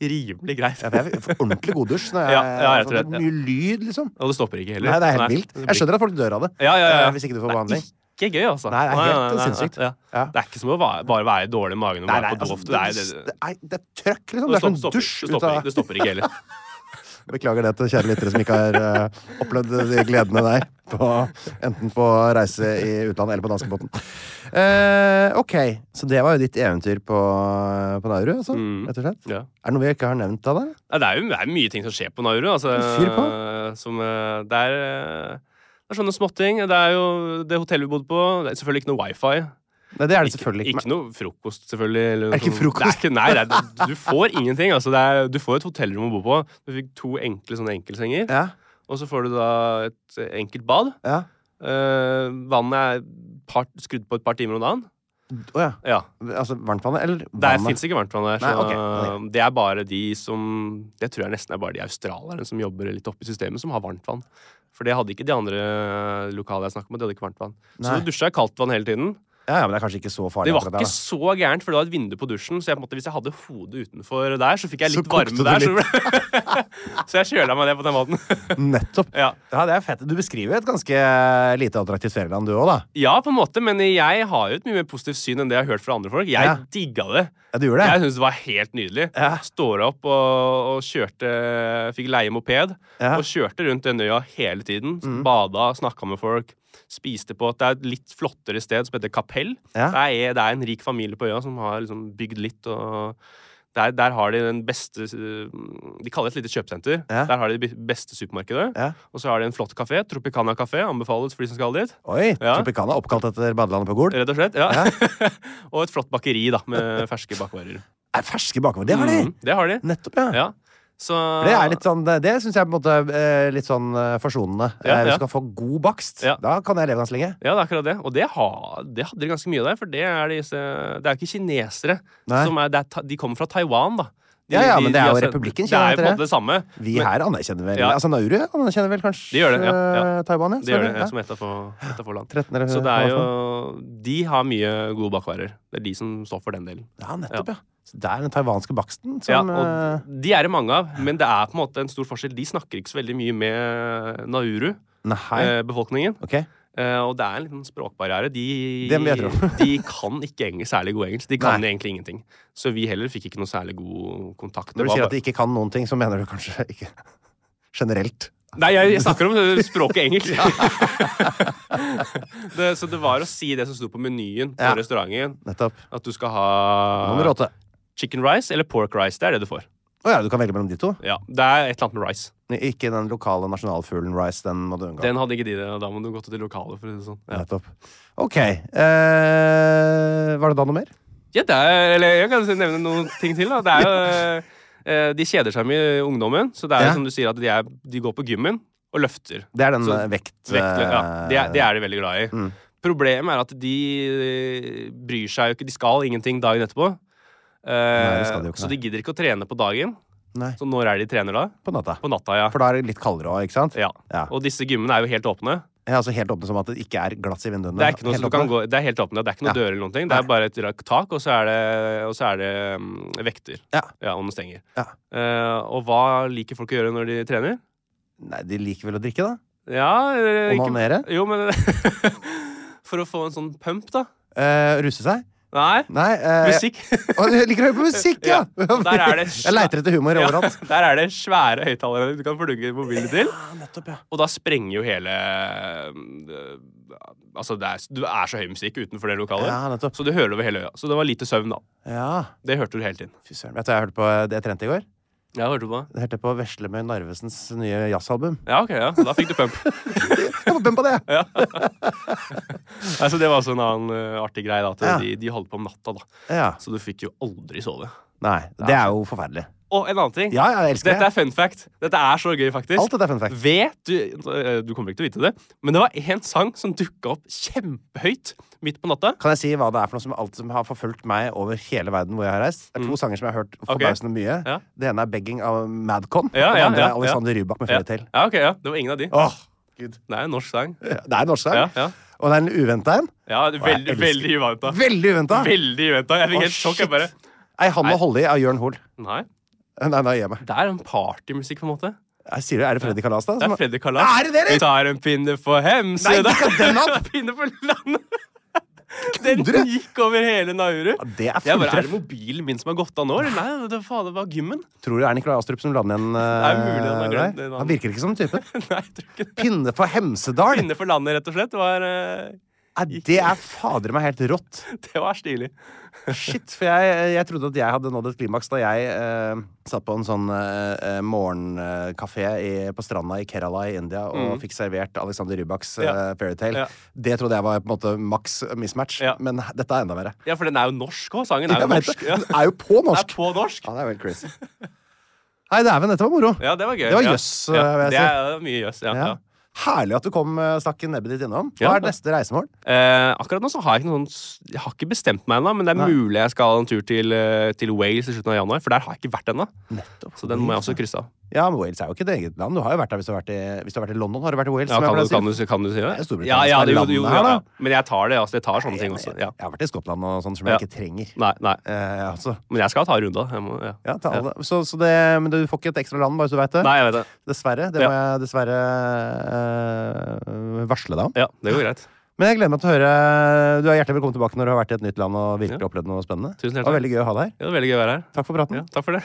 [SPEAKER 2] Rimelig greit.
[SPEAKER 1] Ja, for jeg får ordentlig goddusj når jeg,
[SPEAKER 2] Ja, ja, jeg tror
[SPEAKER 1] får
[SPEAKER 2] det, ja.
[SPEAKER 1] mye lyd, liksom.
[SPEAKER 2] Og det stopper ikke heller.
[SPEAKER 1] Nei, det er helt vilt.
[SPEAKER 2] det blir-
[SPEAKER 1] Jeg skjønner at folk dør av det.
[SPEAKER 2] Ja, ja, ja.
[SPEAKER 1] eh, Hvis ikke du får behandling.
[SPEAKER 2] Det er ikke gøy, altså.
[SPEAKER 1] Nei, det er helt
[SPEAKER 2] nei, nei,
[SPEAKER 1] sinnssykt.
[SPEAKER 2] nei, ja.
[SPEAKER 1] Ja.
[SPEAKER 2] Det er ikke som å va- bare være dårlig i magen og
[SPEAKER 1] Nei,
[SPEAKER 2] være
[SPEAKER 1] nei,
[SPEAKER 2] på do
[SPEAKER 1] altså,
[SPEAKER 2] ofte.
[SPEAKER 1] det,
[SPEAKER 2] Det er-
[SPEAKER 1] det,
[SPEAKER 2] det-
[SPEAKER 1] det, er- det er trøkk, liksom.
[SPEAKER 2] det
[SPEAKER 1] Det er
[SPEAKER 2] stopper-
[SPEAKER 1] som dusj.
[SPEAKER 2] stopper-
[SPEAKER 1] ut av-
[SPEAKER 2] stopper- Det stopper ikke heller.
[SPEAKER 1] Beklager det til kjære lyttere som ikke har eh, opplevd de gledene der. På, enten på reise i utlandet eller på danskebåten. Eh, ok, så det var jo ditt eventyr på, på Nauru, altså, rett og slett.
[SPEAKER 2] Mm. Ja.
[SPEAKER 1] Er det noe vi ikke har nevnt av deg?
[SPEAKER 2] Nei, Det er jo det er mye ting som skjer på Nauru. Altså,
[SPEAKER 1] Fyr på.
[SPEAKER 2] eh, Som, eh, det, er, eh, det er sånne småting. Det er jo det hotellet vi bodde på. Det er selvfølgelig ikke noe wifi.
[SPEAKER 1] Nei, det er det selvfølgelig ikke.
[SPEAKER 2] Ikke noe frokost, selvfølgelig. eller
[SPEAKER 1] Er det ikke
[SPEAKER 2] sånn-
[SPEAKER 1] frokost?
[SPEAKER 2] Det er ikke, nei, det er, du får ingenting. Altså, det er, du får et hotellrom å bo på. Du fikk to enkle sånne enkeltsenger.
[SPEAKER 1] Ja,
[SPEAKER 2] Og så får du da et eh, enkelt bad.
[SPEAKER 1] ja.
[SPEAKER 2] Eh, vannet er par, skrudd på et par timer om dagen.
[SPEAKER 1] Å ja.
[SPEAKER 2] Ja.
[SPEAKER 1] Altså varmtvannet eller
[SPEAKER 2] Der
[SPEAKER 1] vannet?
[SPEAKER 2] fins ikke varmtvann der. Så
[SPEAKER 1] Nei, ok, ok.
[SPEAKER 2] Det er bare de som Det tror jeg nesten er bare de australierne som jobber litt oppe i systemet, som har varmtvann. For det hadde ikke de andre lokale jeg snakket med. De hadde ikke varmtvann. Så
[SPEAKER 1] Nei.
[SPEAKER 2] du dusja i kaldt vann hele tiden.
[SPEAKER 1] Ja, ja, men det er kanskje ikke så farlig.
[SPEAKER 2] Det var
[SPEAKER 1] akkurat
[SPEAKER 2] ikke så gærent, for det var et vindu på dusjen. Så jeg, på en måte, hvis jeg hadde hodet utenfor der, så fikk jeg
[SPEAKER 1] Så
[SPEAKER 2] litt
[SPEAKER 1] kokte
[SPEAKER 2] varme
[SPEAKER 1] du
[SPEAKER 2] der. Så, så jeg kjøla meg ned på den måten.
[SPEAKER 1] da. Nettopp.
[SPEAKER 2] ja.
[SPEAKER 1] Ja, det er fett. Du beskriver et ganske eh, lite attraktivt ferieland, du òg, da.
[SPEAKER 2] ja, på en måte, men jeg har jo et mye mer positivt syn enn det jeg har hørt fra andre folk. Jeg
[SPEAKER 1] Ja.
[SPEAKER 2] digga det.
[SPEAKER 1] Ja, du gjør det?
[SPEAKER 2] Jeg syns det var helt nydelig.
[SPEAKER 1] Ja.
[SPEAKER 2] Står opp og, og kjørte Fikk leie moped
[SPEAKER 1] Ja. Mm.
[SPEAKER 2] og kjørte rundt den øya hele tiden. Bada, snakka med folk. Spiste på Det er et litt flottere sted som heter Kapell.
[SPEAKER 1] Ja.
[SPEAKER 2] Det, er, det er en rik familie på øya som har liksom bygd litt. og der, der har de den beste eh, De kaller det et lite kjøpesenter.
[SPEAKER 1] Ja.
[SPEAKER 2] Der har de det beste supermarkedet.
[SPEAKER 1] Ja.
[SPEAKER 2] Og så har de en flott kafé. Tropicana kafé. Anbefales for de som skal dit.
[SPEAKER 1] Oi,
[SPEAKER 2] Ja.
[SPEAKER 1] Tropicana er oppkalt etter badelandet på Gol.
[SPEAKER 2] Rett og slett. Ja. og et flott bakeri da med ferske bakvarer.
[SPEAKER 1] Er ferske bakover. Det har de!
[SPEAKER 2] Mm, det har de.
[SPEAKER 1] Nettopp, ja.
[SPEAKER 2] Ja. Så
[SPEAKER 1] For Det er litt sånn, det- det syns jeg på en måte er litt sånn eh, forsonende.
[SPEAKER 2] Ja,
[SPEAKER 1] Eh, Hvis
[SPEAKER 2] ja.
[SPEAKER 1] du kan få god bakst,
[SPEAKER 2] Ja.
[SPEAKER 1] da kan jeg leve ganske lenge.
[SPEAKER 2] Ja, det er akkurat det. Og det, har, det hadde de ganske mye der, for det er disse Det er jo ikke kinesere.
[SPEAKER 1] Nei.
[SPEAKER 2] Som er, det er, ta- de kommer fra Taiwan, da. De,
[SPEAKER 1] Ja, ja, men det er jo
[SPEAKER 2] altså-
[SPEAKER 1] republikken
[SPEAKER 2] Det
[SPEAKER 1] Kina,
[SPEAKER 2] er jo på en
[SPEAKER 1] heter
[SPEAKER 2] måte det samme.
[SPEAKER 1] Vi
[SPEAKER 2] Men-
[SPEAKER 1] her anerkjenner vel
[SPEAKER 2] Ja.
[SPEAKER 1] Altså Nauru anerkjenner vel kanskje
[SPEAKER 2] De gjør det, ja, ja.
[SPEAKER 1] eh, Taiwan, ja.
[SPEAKER 2] Det gjør det,
[SPEAKER 1] selvfølgelig.
[SPEAKER 2] ja, som ett av få- ett av få land.
[SPEAKER 1] 13 eller
[SPEAKER 2] Så det er jo De har mye gode bakvarer. Det er de som står for den delen.
[SPEAKER 1] Ja, nettopp, ja. Så det er den taiwanske baksten
[SPEAKER 2] Ja,
[SPEAKER 1] som eh,
[SPEAKER 2] og de er det mange av, men det er på en måte en stor forskjell. De snakker ikke så veldig mye med
[SPEAKER 1] Nei.
[SPEAKER 2] eh, Nauru-befolkningen.
[SPEAKER 1] Ok.
[SPEAKER 2] Eh, og det er en liten språkbarriere. De,
[SPEAKER 1] Det vil jeg tro.
[SPEAKER 2] de kan ikke eng særlig god engelsk. De kan
[SPEAKER 1] Nei.
[SPEAKER 2] egentlig ingenting. Så vi heller fikk ikke noe særlig god kontakt. Det
[SPEAKER 1] Når du
[SPEAKER 2] var
[SPEAKER 1] sier
[SPEAKER 2] bare-
[SPEAKER 1] at de ikke kan noen ting, så mener du kanskje ikke generelt
[SPEAKER 2] Nei, jeg, jeg snakker om eh, språket engelsk. det, så det var å si det som sto på menyen på
[SPEAKER 1] Ja.
[SPEAKER 2] restauranten.
[SPEAKER 1] Nettopp.
[SPEAKER 2] At du skal ha
[SPEAKER 1] Nummer åtte.
[SPEAKER 2] chicken rice eller pork rice. Det er det du får.
[SPEAKER 1] Å ja, du kan velge mellom de to?
[SPEAKER 2] Ja, Det er et eller annet med rice.
[SPEAKER 1] Nei, Ikke den lokale nasjonalfuglen rice. Den må du unngå.
[SPEAKER 2] Den hadde ikke de, og da må du gå til det lokale. for å si det sånn. Ja.
[SPEAKER 1] Nettopp. Ok. Eh, var det da noe mer?
[SPEAKER 2] Ja, det er, eller jeg kan nevne noen ting til. da. Det er jo, eh, de kjeder seg mye, ungdommen. Så det er
[SPEAKER 1] Ja.
[SPEAKER 2] jo som du sier, at de, er, de går på gymmen og løfter.
[SPEAKER 1] Det er den
[SPEAKER 2] Så-
[SPEAKER 1] eh, vekt...
[SPEAKER 2] Vektlø- ja, det, er, det er de veldig glad i.
[SPEAKER 1] Mm.
[SPEAKER 2] Problemet er at de eh, bryr seg jo ikke De skal ingenting dagen etterpå. Eh,
[SPEAKER 1] det skal de jo ikke,
[SPEAKER 2] så
[SPEAKER 1] nei.
[SPEAKER 2] de gidder ikke å trene på dagen.
[SPEAKER 1] Nei,
[SPEAKER 2] Så når er det de trener da?
[SPEAKER 1] på natta.
[SPEAKER 2] På natta, ja.
[SPEAKER 1] For da eh, er det litt kaldere òg, ikke sant?
[SPEAKER 2] ja.
[SPEAKER 1] Ja.
[SPEAKER 2] Og disse gymmene er jo helt åpne.
[SPEAKER 1] Jeg er altså helt åpne som at det ikke er glass i vinduene.
[SPEAKER 2] Det er ikke noe
[SPEAKER 1] Helt
[SPEAKER 2] som du kan
[SPEAKER 1] åpne.
[SPEAKER 2] gå Det er helt åpne, det er ikke noe
[SPEAKER 1] Ja.
[SPEAKER 2] dører eller noen ting. Det er bare et rakt tak, og så er det, og så er det mm, vekter.
[SPEAKER 1] Ja.
[SPEAKER 2] og noen stenger.
[SPEAKER 1] Ja.
[SPEAKER 2] Eh, og hva liker folk å gjøre når de trener?
[SPEAKER 1] Nei, de liker vel å drikke, da?
[SPEAKER 2] Ja eh, ikke-
[SPEAKER 1] Onanere?
[SPEAKER 2] Jo, men For å få en sånn pump, da.
[SPEAKER 1] Eh, ruse seg?
[SPEAKER 2] Nei.
[SPEAKER 1] Nei. eh,
[SPEAKER 2] Musikk.
[SPEAKER 1] Å, du liker å høre på musikk, ja!
[SPEAKER 2] Ja, og der er det-
[SPEAKER 1] Jeg leiter etter humor
[SPEAKER 2] Ja,
[SPEAKER 1] overalt.
[SPEAKER 2] der er det svære høyttalere du kan plugge mobilen til.
[SPEAKER 1] nettopp, ja.
[SPEAKER 2] Og da sprenger jo hele øh, Altså, det er, du er så høy musikk utenfor det lokalet.
[SPEAKER 1] Ja, nettopp.
[SPEAKER 2] så du hører det over hele øya. Så det var lite søvn, da.
[SPEAKER 1] Ja.
[SPEAKER 2] Det hørte du hele tiden.
[SPEAKER 1] Fy søren. Vet du hva jeg hørte på eh, det jeg trente i går?
[SPEAKER 2] Ja, hørte du på det?
[SPEAKER 1] Jeg hørte på Veslemøy Narvesens nye jazzalbum.
[SPEAKER 2] Ja, ok, ja. Så Da fikk du pump.
[SPEAKER 1] Jeg var bønn på det!
[SPEAKER 2] ja. altså, det var også en annen øh, artig greie, da. At
[SPEAKER 1] Ja.
[SPEAKER 2] de, de holdt på om natta, da.
[SPEAKER 1] Ja.
[SPEAKER 2] Så du fikk jo aldri sove.
[SPEAKER 1] Nei, det
[SPEAKER 2] altså-
[SPEAKER 1] er jo forferdelig.
[SPEAKER 2] Og en annen ting.
[SPEAKER 1] Ja, ja, jeg elsker
[SPEAKER 2] Dette
[SPEAKER 1] det.
[SPEAKER 2] er fun fact. Dette er så gøy, faktisk.
[SPEAKER 1] Alt dette er fun fact.
[SPEAKER 2] Vet du eh, Du kommer ikke til å vite det, men det var én sang som dukka opp kjempehøyt midt på natta.
[SPEAKER 1] Kan jeg si hva det er for noe som, alt som har forfulgt meg over hele verden hvor jeg har reist? Det er to sanger som jeg har hørt forbausende mye.
[SPEAKER 2] Mm. Ja.
[SPEAKER 1] Det ene er 'Begging' av Madcon. og
[SPEAKER 2] Ja,
[SPEAKER 1] det
[SPEAKER 2] ja,
[SPEAKER 1] andre
[SPEAKER 2] ja,
[SPEAKER 1] er Alexander Rybak med
[SPEAKER 2] Ja.
[SPEAKER 1] Fairytale.
[SPEAKER 2] ja, ok, ja. Det var ingen av de.
[SPEAKER 1] Åh, Gud.
[SPEAKER 2] Det er en norsk sang.
[SPEAKER 1] Det er en norsk sang.
[SPEAKER 2] Ja, ja.
[SPEAKER 1] Og det er en uventa en.
[SPEAKER 2] Ja, det er veldig,
[SPEAKER 1] jeg elsker-
[SPEAKER 2] veldig uventa.
[SPEAKER 1] Veldig uventa!
[SPEAKER 2] Veldig uventa. Jeg
[SPEAKER 1] Åh,
[SPEAKER 2] fikk helt sjokk.
[SPEAKER 1] shit.
[SPEAKER 2] Jeg bare
[SPEAKER 1] Ei hand å holde i av Jørn Hoel.
[SPEAKER 2] Nei.
[SPEAKER 1] Nei, nei, gi meg.
[SPEAKER 2] Det er en partymusikk, på en måte.
[SPEAKER 1] Jeg sier det, Er det Freddy Kalas, da?
[SPEAKER 2] Det
[SPEAKER 1] som-
[SPEAKER 2] er Freddy Kalas.
[SPEAKER 1] Er det det, eller?
[SPEAKER 2] Vi tar en pinne for Hemse.
[SPEAKER 1] Nei, ikke den opp!
[SPEAKER 2] pinne for landet. Den
[SPEAKER 1] Kødder du?
[SPEAKER 2] gikk over hele Nauru.
[SPEAKER 1] det er
[SPEAKER 2] Jeg bare,
[SPEAKER 1] fulltreff.
[SPEAKER 2] Er det mobilen min som har gått av nå? eller? Nei, det, faen, det var gymmen.
[SPEAKER 1] Tror du det er Nikolai Astrup som lander igjen
[SPEAKER 2] mulig han har glemt det, da.
[SPEAKER 1] Han virker ikke som typen.
[SPEAKER 2] Nei, jeg tror ikke det.
[SPEAKER 1] Pinne for Hemsedal!
[SPEAKER 2] Pinne for landet, rett og slett. var... eh,
[SPEAKER 1] Nei, det er fader meg helt rått.
[SPEAKER 2] Det var stilig.
[SPEAKER 1] Shit, for jeg, jeg trodde at jeg hadde nådd et klimaks da jeg eh, satt på en sånn eh, eh, morgenkafé i, på stranda i Kerala i India og fikk servert Alexander Rybaks eh,
[SPEAKER 2] Mm. Ja.
[SPEAKER 1] Fairytale.
[SPEAKER 2] Ja.
[SPEAKER 1] Det trodde jeg var på en måte maks mismatch,
[SPEAKER 2] Ja.
[SPEAKER 1] men h- dette er enda verre.
[SPEAKER 2] Ja, for den er jo norsk òg. Sangen er jo
[SPEAKER 1] Jeg vet
[SPEAKER 2] norsk.
[SPEAKER 1] det.
[SPEAKER 2] Ja.
[SPEAKER 1] Den er jo på
[SPEAKER 2] Den er
[SPEAKER 1] norsk!
[SPEAKER 2] på norsk.
[SPEAKER 1] Ja, det er vel crazy. Nei, dæven, dette var moro.
[SPEAKER 2] Ja, det var gøy.
[SPEAKER 1] Det var
[SPEAKER 2] ja.
[SPEAKER 1] jøss,
[SPEAKER 2] Ja.
[SPEAKER 1] vil jeg
[SPEAKER 2] Det
[SPEAKER 1] si.
[SPEAKER 2] er det er mye jøss, ja.
[SPEAKER 1] Ja.
[SPEAKER 2] ja.
[SPEAKER 1] Herlig at du kom eh, stakk nebbet ditt innom. Hva
[SPEAKER 2] Ja.
[SPEAKER 1] er neste reisemål?
[SPEAKER 2] Eh, akkurat nå så har jeg ikke noen s- Jeg har ikke bestemt meg ennå, men det er mulig jeg skal en tur til, eh, til Wales i slutten av januar, for der har jeg ikke vært ennå. Så den må jeg også krysse av.
[SPEAKER 1] Ja, men Wales er jo ikke et eget land. Du har jo vært der hvis du har vært i, hvis du har vært i London. Har du vært i Wales?
[SPEAKER 2] Ja,
[SPEAKER 1] som jeg
[SPEAKER 2] kan, du,
[SPEAKER 1] pleier å
[SPEAKER 2] kan,
[SPEAKER 1] si?
[SPEAKER 2] du, kan du si
[SPEAKER 1] Det er
[SPEAKER 2] det?
[SPEAKER 1] Storbritannia
[SPEAKER 2] Ja, ja,
[SPEAKER 1] som er
[SPEAKER 2] det, jo, jo,
[SPEAKER 1] landet her,
[SPEAKER 2] ja.
[SPEAKER 1] da.
[SPEAKER 2] Men jeg tar det. Altså, jeg tar sånne ting også. Ja.
[SPEAKER 1] Jeg har vært i Skottland og sånn som
[SPEAKER 2] Ja.
[SPEAKER 1] jeg ikke trenger.
[SPEAKER 2] Nei, nei.
[SPEAKER 1] Eh, altså.
[SPEAKER 2] Men jeg skal ta en runde. da. Jeg må, ja.
[SPEAKER 1] Ja, ta alle. Så, så det, men du får ikke et ekstra land, bare så du veit det?
[SPEAKER 2] Nei, jeg vet det.
[SPEAKER 1] Dessverre. Det
[SPEAKER 2] Ja.
[SPEAKER 1] må jeg dessverre eh, varsle deg om.
[SPEAKER 2] Ja, det går greit.
[SPEAKER 1] Men jeg gleder meg til å høre Du er hjertelig velkommen tilbake når du har vært i et nytt land og virkelig opplevd noe spennende.
[SPEAKER 2] Tusen hjertelig.
[SPEAKER 1] det var veldig gøy å ha deg her.
[SPEAKER 2] Ja, det var veldig gøy å være her.
[SPEAKER 1] Takk for praten.
[SPEAKER 2] Ja, takk for det.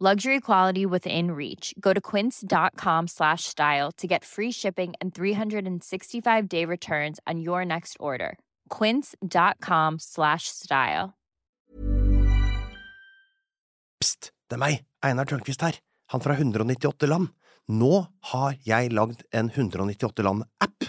[SPEAKER 5] Luxury quality within reach. Go to quince.com slash style to get free shipping and 365 day returns on your next order. Quince.com slash style.
[SPEAKER 1] Pst, det er meg. Einar Tørnquist her. han fra 198 land. Nå har jeg lagd en 198 land-app,